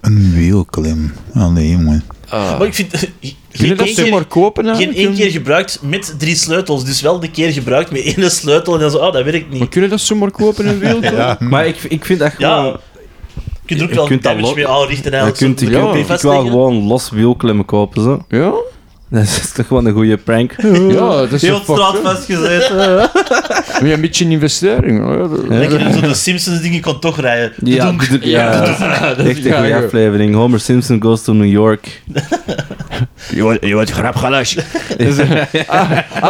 Een wielklim. Allee, jongen.
Ah.
Maar ik vind... eh, Geen
Kun je dat
één keer-
zomaar maar kopen?
Geen
eigenlijk?
één
eh?
keer gebruikt met drie sleutels. Dus wel de keer gebruikt met één sleutel. En dan zo, ah, dat werkt
Maar
niet.
kun je dat zomaar kopen in wild?
Ja.
<laughs> Maar ik, ik vind dat gewoon...
Ja, je kunt er ook
Je
wel
kunt dat
damage
lo-
mee aanrichten.
je
eigenlijk,
kunt,
zo.
je
Moet
kunt
ook
denk ik wel
vastleggen.
gewoon los wielklemmen kopen, zo. <laughs>
Ja?
Dat is toch gewoon een goede prank.
Ja, dat is
Heel
een
op straat vastgezeten.
Wil je een beetje een investering? hoor.
Lekker in zo'n Simpsons-dingen kon toch rijden.
Ja,
Doedoenk.
d- ja. echt een
ja,
goede
ja.
aflevering. Homer Simpson goes to New
<laughs>
York.
Je wordt, je wordt
<laughs>
grapgalas.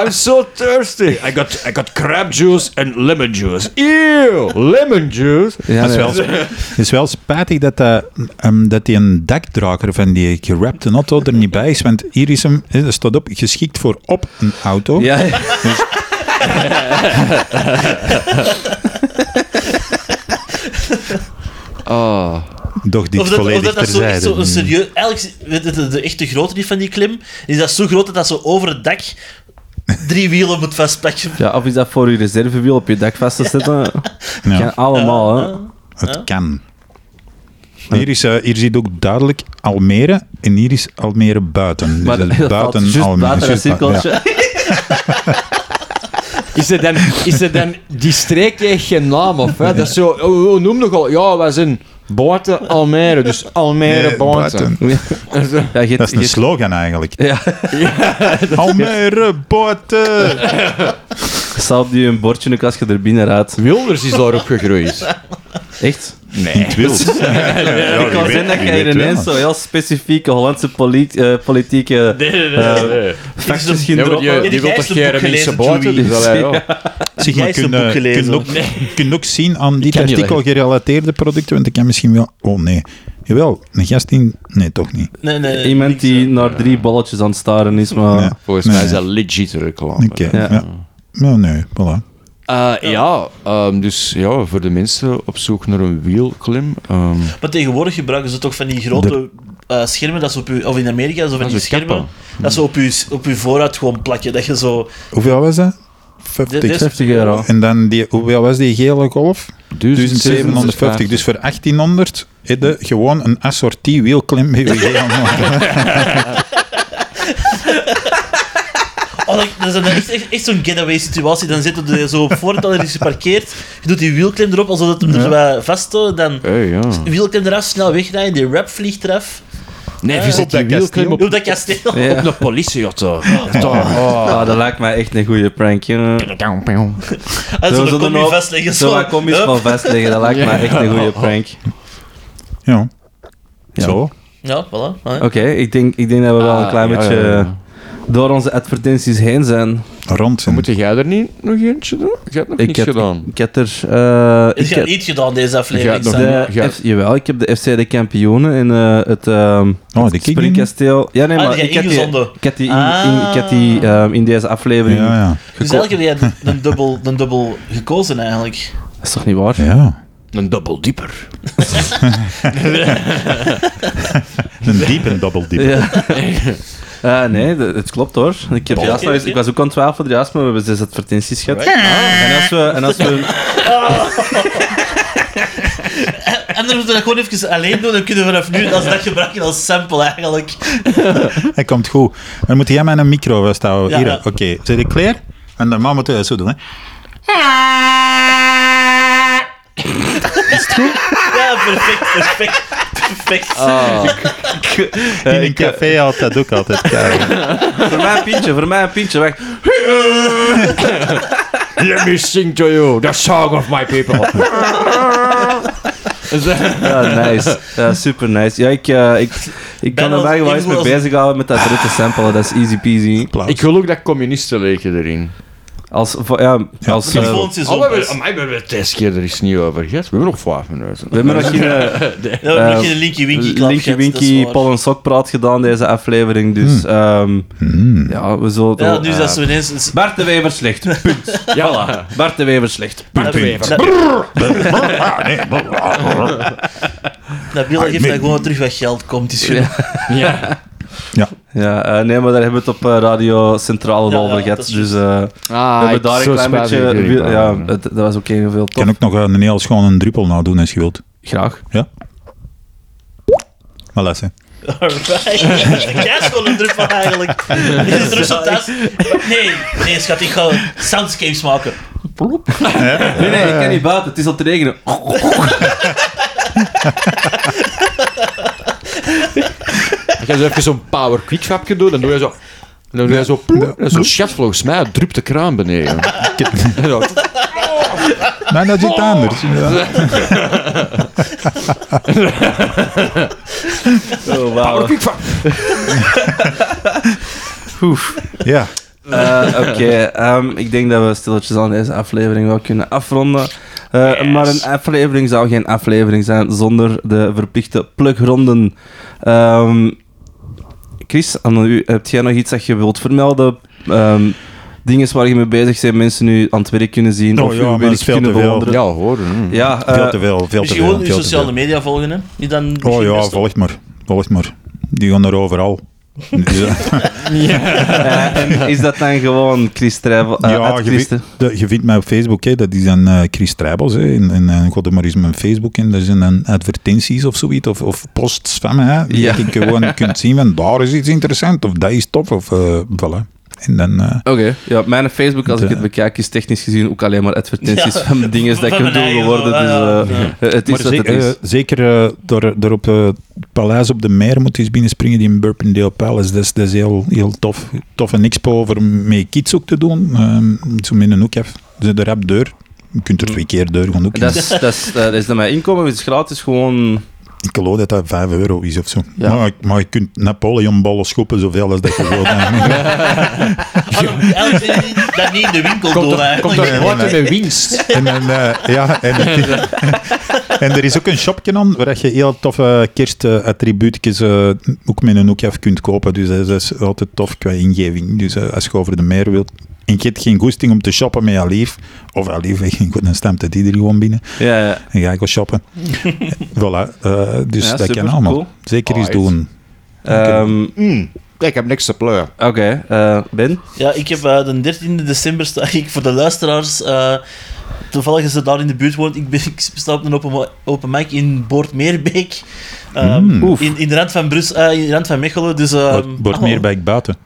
I'm so thirsty. I got, I got crab juice and lemon juice. Ew, lemon juice.
Ja,
Het is,
nee.
wel, het is wel spijtig dat, dat, ehm, dat die een dekdrager van die gerapte auto er niet bij is. Want hier is hem, hè, er staat op, geschikt voor op een auto.
Ja,
Ah,
Doch dit
Of dat, of
volledig
dat, dat zo, echt
terzijde.
zo een serieus... Eigenlijk, weet je, de, de, echte grootte die van die klim, is dat zo groot dat dat zo over het dak drie wielen moet vastpakken.
ja, of is dat voor je reservewiel op je dak vast te zetten?
<laughs> Ja.
Kan allemaal, hè.
Het kan. Hier, is, eh, hier ziet ook duidelijk Almere en hier is Almere buiten. Dus
Maar
dat is
dat valt
buiten
juist
Almere.
buiten een
Juist buiten,
cirkeltje.
Is er, dan, is er dan die streek heeft geen naam of hè? Dat is zo, oh, oh, noem nogal. Ja, wij zijn buiten Almere, dus
ja.
Almere
Nee,
buiten.
buiten.
<laughs> Ja, je-
Dat is een
je-
slogan eigenlijk.
Ja.
Almere buiten!
Salp die een bordje ook als je er binnen raadt.
Wilders is daarop <laughs> gegroeid.
Echt?
In het wild.
ik kan zien dat jij ineens zo heel specifieke Hollandse polit- eh, politieke
<laughs> Nee, nee, nee.
eh,
nee.
facties
Ja,
ging
Ja, maar
droppen.
die,
die
die wil
gijs
toch
een
geen
boek
mensen
gelezen,
buiten?
Joey.
Dus, allee, ja.
Zeg,
Jij
je
is een
kunt
boek
eh,
gelezen.
kunt ook, kunt ook zien aan dit
ken die
artikel gerelateerde producten, want ik kan misschien wel... Oh nee. Jawel, een gast in... Nee, toch niet.
Nee, nee, nee.
Iemand die naar drie bolletjes aan het staren is, maar...
Nee.
Volgens
Nee.
mij is dat legit reclame.
Oké,
Ja.
ja. Nou, nee, voilà.
Eh, ja, ehm, dus ja, voor de mensen op zoek naar een wielklim. ehm,
Maar tegenwoordig gebruiken ze toch van die grote eh, schermen, dat ze op je, of in Amerika, zo van
Ah,
die
zo
schermen,
kappen.
dat ze op je, op je voorraad gewoon plakken. Dat je zo...
Hoeveel was dat?
Dit- dit
50.
is-
50 euro.
En dan, die, hoeveel was die gele golf? 1750. Dus voor 1800 heb je gewoon een assortie wielklim bij je gele-
Oh, dat, dat is dan echt, echt, echt zo'n getaway situatie. Dan zit je zo op voorraad, dan is geparkeerd, je doet die wielklem erop, alsof het hem er wat vast houdt, dan...
Hey, Eh, ja.
Wielklem eraf, snel wegrijden, die rap vliegt eraf.
Nee, je zit
dat
die wielklim Eh, op,
Op dat kasteel.
Ja.
<laughs>
op een <laughs> politieauto. Oh.
Ah, dat lijkt mij echt een goede prank, jongen.
En
Zo,
zo,
zo
dan kom
dan
je
ook-
vastleggen.
Zo wat kom je
Hup.
gewoon vastleggen, dat lijkt mij echt een goede
<laughs>
prank.
Ja. Zo.
Ja, voilà. Ah, ja.
Oké, ik, denk, ik denk dat we wel een klein
Ah, ja,
beetje
ja, ja.
eh, door onze advertenties heen zijn.
Rond. en-
Moet jij er niet nog eentje doen? Je hebt nog
Ik
niets
heb,
gedaan.
Ik heb er... eh,
Ik
ik
heb
heb
niet gedaan deze aflevering.
Jij nog
Sam.
niet?
de
Ja.
F- jawel, ik heb de FC de Kampioenen en eh, het... ehm,
Oh, die kijk je niet?
Springkasteel. Ja, nee,
Ah,
maar
die
ik had die,
ingezonden.
ik had die, in, in,
Ah.
ik had die ehm, in deze aflevering.
Ja, ja.
Dus elke keer heb je een dubbel, een dubbel gekozen eigenlijk.
Dat is toch niet waar?
Ja.
Een dubbel dieper.
Een diepe dubbeldip.
<laughs>
<laughs>
Ja. Eh, nee, dat- het klopt hoor. Ik, heb juist nog eens- ik was ook aan het twijfelen juist, maar we hebben zes advertenties gehad. En als we... En als we
En dan moeten we dat gewoon even alleen doen. Dan kunnen we vanaf nu dat, dat gebruiken als sample eigenlijk.
Hij komt goed. Dan moet jij mij een micro vasthouden.
Ja,
Hier,
ja.
oké. Zijn jullie klaar? En normaal moeten we dat zo doen, hè.
Ja, perfect, perfect,
Ah,
perfect.
In een café had dat ook <laughs> altijd.
voor mij een pintje, voor mij een pintje. Wacht.
<laughs> Let me sing to you, the song of my <laughs> people. eh,
Ja, <laughs> nice. Ja, super nice. Ja, ik, eh, ik, ik
Ben
kan er
als
wel eens
invoer
mee
als-
bezighouden met dat dritte sample. Dat is easy peasy.
Ik wil ook dat communisten leken erin.
Als, vo- ja, als
Dat
eh,
volgend seizoen
Oh, we
pas.
hebben, amai, we hebben het deze keer er is niet over gehad. We hebben nog vijf minuten.
we hebben nog geen eh,
Ja, we hebben nog
eh,
geen Linky Winky klap
Linky
gehad, dat is
Winky
waar.
Paul en Sok praat gedaan deze aflevering, dus ehm,
Hmm.
ja, we zullen... het
Ja,
wel,
nu
eh,
is dat zo ineens... is-
Bart de Wever <laughs> slecht, punt.
Ja,
Bart de Wever slecht.
Nab-
even.
Nab-
<laughs> Ah, nee.
Nabil geeft dat gewoon terug wat geld komt. Is genoeg.
ja.
Ja, eh, nee, maar daar hebben we het op eh, Radio Centraal
Ja,
wel over
ja,
gehad,
dat is
dus...
juist.
eh,
Ah,
we hebben daar een klein beetje... Ja, <laughs> het- dat was ook heel veel
Ik kan
tof.
ook nog eh, een heel schone druppel nou doen als je wilt.
Graag.
Maar les, hè.
Alright. Jij is gewoon een druppel eigenlijk.
<laughs>
Dit is Russel thuis. Nee, nee schat, ik ga soundscapes maken.
Nee, nee,
Eh.
ik kan niet buiten. Het is al te <laughs> regenen.
Ik ga zo even zo'n power quick grapje doen, dan doe je zo... Dan doe je zo... ploep, en Zo'n chat volgens mij drupt de kraan beneden. <laughs> En zo,
Nee, dat is iets anders. Ja.
Oh,
Power
wauw.
quick grap.
Ja.
Eh, Oké, ehm, ik denk dat we stilletjes aan deze aflevering wel kunnen afronden. Eh, Maar een aflevering zou geen aflevering zijn zonder de verplichte plugronden. Ehm, Chris, aan u, heb jij nog iets dat je wilt vermelden? Ehm, dingen waar je mee bezig bent, mensen nu aan het werk kunnen zien
Oh
of
ja,
uw
maar dat
werk
is veel te
kunnen
veel.
bewonderen.
Ja, hoor. hm.
Ja, eh,
Veel te veel, veel
Dus
te
je gewoon
veel.
je
veel te
sociale
veel.
media volgen, hè? Die dan
Oh
misschien
ja,
best op-
volg maar. Volg maar. Die gaan er overal.
<laughs>
Ja.
eh, en is dat dan gewoon Chris Trijvel? eh,
ja,
uit
je,
Christen?
vindt, de- je vindt mij op Facebook, hè, dat is dan eh Chris Trijbels. Hè, en en eh, ik had er maar eens mijn Facebook in, daar zijn dan advertenties of zoiets, of, of posts van mij. hè, Die
Ja.
je gewoon kunt zien van daar is iets interessant, of dat is tof, of eh voilà. En dan, eh,
Oké. Ja, mijn Facebook, als ik het bekijk, is technisch gezien ook alleen maar advertenties
Ja.
van dingen die ik
Van
heb
mijn
doen
eigen,
geworden. Dus
ja,
eh,
ja.
eh, <laughs> het is
maar
wat
ze-
het is.
eh, zeker eh, door, door op eh, het Paleis op de Meer moet je eens binnenspringen, die in Burpendale Palace. Dat is, dat is heel, heel tof. Tof een expo voor mee kids ook te doen. ehm, zo met een hoek af. Dus de rap deur. Je kunt er twee keer deur gaan ook. in.
Mm. Dat is, dat, is, eh, dat is dan mijn inkomen, het is gratis gewoon...
Ik geloof dat dat 5 euro is of zo.
Ja.
Maar, maar je kunt Napoleonballen schoppen zoveel als dat je wil.
<laughs>
Ah, dan- eigenlijk zijn die dat niet in de winkel
Komt
doen,
er, komt
eigenlijk.
er water met winst.
<laughs> en, dan, eh, ja, en, <laughs> en er is ook een shopje aan waar je heel toffe kerstattribuutjes eh ook met een hoekje af kunt kopen. Dus dat is altijd tof qua ingeving. Dus eh, als je over de meer wilt en je hebt geen goesting om te shoppen met Alief, of <laughs> Alief, dan stemt het iedereen gewoon binnen.
Ja, ja.
En ga ik wel shoppen. voilà, eh, dus
Ja,
dat
super,
kan allemaal.
cool.
Zeker eens
Alright.
doen.
Ehm,
Mm, <laughs> Ik heb niks te pleuren.
Oké, eh, Ben?
Ja, ik heb eh, de 13 december sta ik voor de luisteraars. eh, toevallig als ze daar in de buurt woont, ik, ben, ik sta op een open, open mic in Boortmeerbeek. Ehm,
Hmm.
Oef.
in, in de rand van Brus, eh, in de rand van Mechelen. Dus, ehm, Ah,
Wordt- Wordt meer bij ik buiten.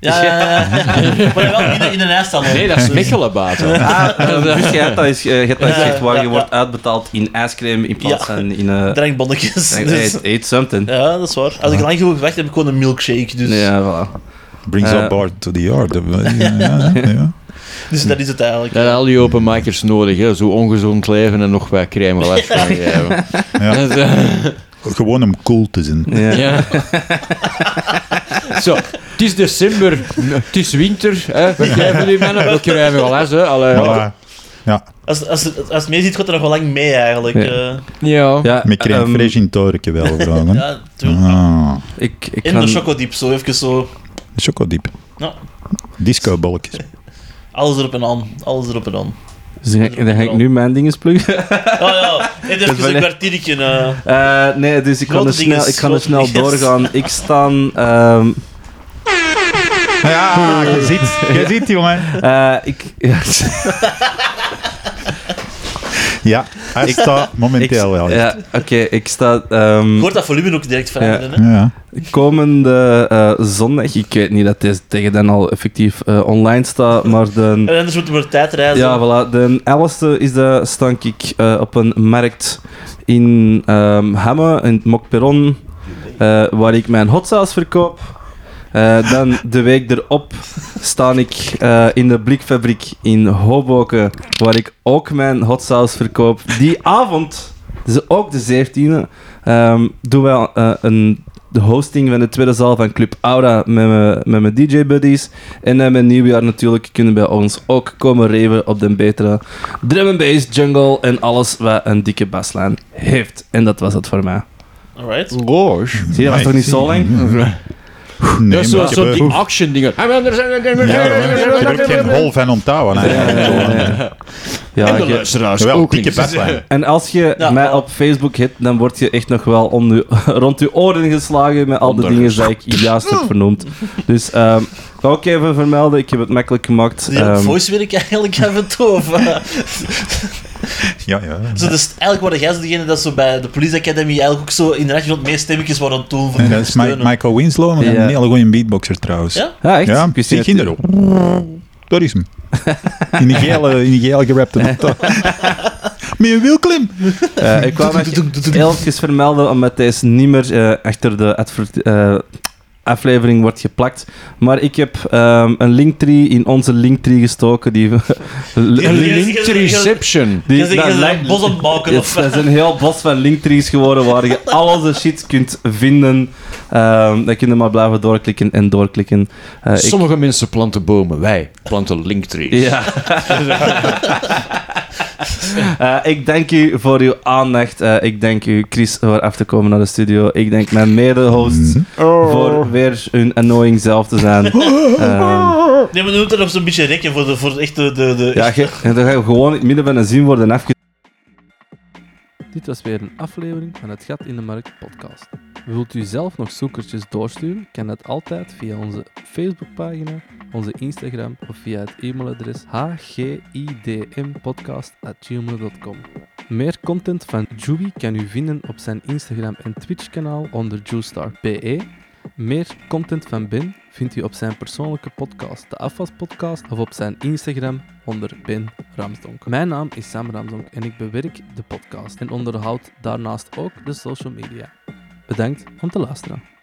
Ja, ja, ja.
<laughs>
maar wel in, de- Dus- in de ijstal.
Nee, dat is Michelenbaten.
Ah, <laughs> dus jij hebt dat eens, eh, je hebt dat eens
Ja,
gezegd waar
ja,
je
ja.
wordt uitbetaald in ijscream in plaats
Ja.
van in... eh,
Drankbonnetjes. Dus,
eet, eat something.
ja, dat is waar. Als ik lang genoeg gewacht heb, heb ik gewoon een milkshake. Dus,
Ja, voilà.
Brings
Eh,
up bar to the yard. Eh, Ja, ja, ja.
dus dat is het eigenlijk.
Dat hebben al die openmakers nodig, hè. zo ongezond leven en nog wat crème gelaf gaan geven.
Ja.
Dat is, eh,
Gewoon om cool te zijn.
Ja.
Ja. Zo, het is december, het is winter. Hè. Wat geven die mannen? Dat krijgen we wel eens. Hè. Allee, ja.
Voilà.
Als, als, als het mee ziet, gaat er nog wel lang mee eigenlijk.
Ja.
eh.
Ja.
Ja,
Met crème
ehm,
fraîche in het torentje wel vragen.
ja, tuurlijk.
Ah,
ik, ik
In de
kan...
chocodiep, zo even zo.
chocodiep.
Ja.
Discobalkjes.
Alles erop en aan. Alles erop en
<laughs>
aan.
Dus dan ga ik- dan ga ik nu mijn dingen pluggen.
Oh ja, dit is
Dat is wel
een
echt-
kwartiertje. eh.
Eh, nee, dus ik kan
Grote
er snel,
dinges,
ik kan er
grote
snel
dinges.
doorgaan. Ik sta. ehm,
<laughs> Ja, je ziet, je ziet jongen.
eh, ik, <laughs> ja,
Ja, hij staat
ik,
momenteel wel. Ja.
ja, oké, ik sta ehm,
Je hoort dat volume ook direct veranderen. hè?
Ja.
komende eh, zondag. Ik weet niet dat deze tegen dan al effectief eh, online staat, maar de,
En anders moeten we tijd reizen.
ja, voilà, de 11e is de stank ik eh, op een markt in ehm Hamme, in het Mokperon, eh, waar ik mijn hot sauce verkoop. Eh, dan de week erop sta ik eh, in de blikfabriek in Hoboken, waar ik ook mijn hot sauce verkoop. Die avond, dus ook de 17e, ehm, doen wij eh, een de hosting van de tweede zaal van Club Aura met mijn- met mijn DJ-buddies. En eh, met nieuwjaar natuurlijk kunnen bij ons ook komen reven op de betere drum and bass, jungle en alles wat een dikke baslijn heeft. En dat was het voor mij.
Alright.
Roos.
Zie je, dat was toch niet zo lang?
Nee,
dat is
maar
zo,
ik
zo
heb,
die
eh,
action dingen. Ah,
ja, ik heb er geen hol van om te houden. eigenlijk.
Ja,
En de
je-
luisteraars
Wel,
ook
dikke
niet.
baslijn.
En als je
Ja.
mij op Facebook hit, dan word je echt nog wel om je- <laughs> rond je oren geslagen met al de
Onder.
dingen die ik juist heb vernoemd. Dus ehm ik ga ook even vermelden, ik heb het makkelijk gemaakt.
Die
Ehm,
voice wil ik eigenlijk <laughs> hebben tof. Eh,
Ja, ja.
zo, dus eigenlijk waren jij zo degene dat zo bij de Police Academy eigenlijk ook zo in de rond meer stemmetjes waren aan het doen voor
En
te
dat is Mi-
ondersteunen.
Michael Winslow, maar
Ja.
een hele goede beatboxer trouwens.
Ja?
ja, echt?
Ja,
Ik wist
die
niet dat-
kinderen. Dat is hem. In die gele, in die gele gerapte auto. Met een wielklim.
Eh, ik kwam echt heel even vermelden, omdat deze niet meer eh, achter de advert- eh, aflevering wordt geplakt. Maar ik heb ehm, een linktree in onze linktree gestoken. Die, <laughs>
Link Reception.
Je
die,
zegt, je
dat
bent
lijkt-
een bos aan het maken
Het
of...
is een heel bos van linktrees geworden waar <laughs> je alles de shit kunt vinden. Ehm dan kun je maar blijven doorklikken en doorklikken. Eh, ik-
Sommige mensen planten bomen, wij planten linktrees.
ja. <laughs> Eh, ik dank u voor uw aandacht. Eh, ik dank u, Chris, voor af te komen naar de studio. Ik dank mijn mede-hosts voor weer hun annoying zelf te zijn. Ehm,
Nee, maar nu moet er nog zo'n beetje rekken voor, de, voor eh, echt de... de, de
ja, ge- en dan ga je gewoon in het midden van een zin worden afge... Dit was weer een aflevering van het Gat in de Markt podcast. Wilt u zelf nog zoekertjes doorsturen? Kan dat altijd via onze Facebookpagina, onze Instagram of via het e-mailadres hgidmpodcast.gmail.com. Meer content van Juby kan u vinden op zijn Instagram en Twitch-kanaal onder JuStar.be. Meer content van Ben vindt u op zijn persoonlijke podcast, de Afwas Podcast, of op zijn Instagram onder Ben Ramsdonk. Mijn naam is Sam Ramsdonk en ik bewerk de podcast en onderhoud daarnaast ook de social media. Bedankt om te luisteren.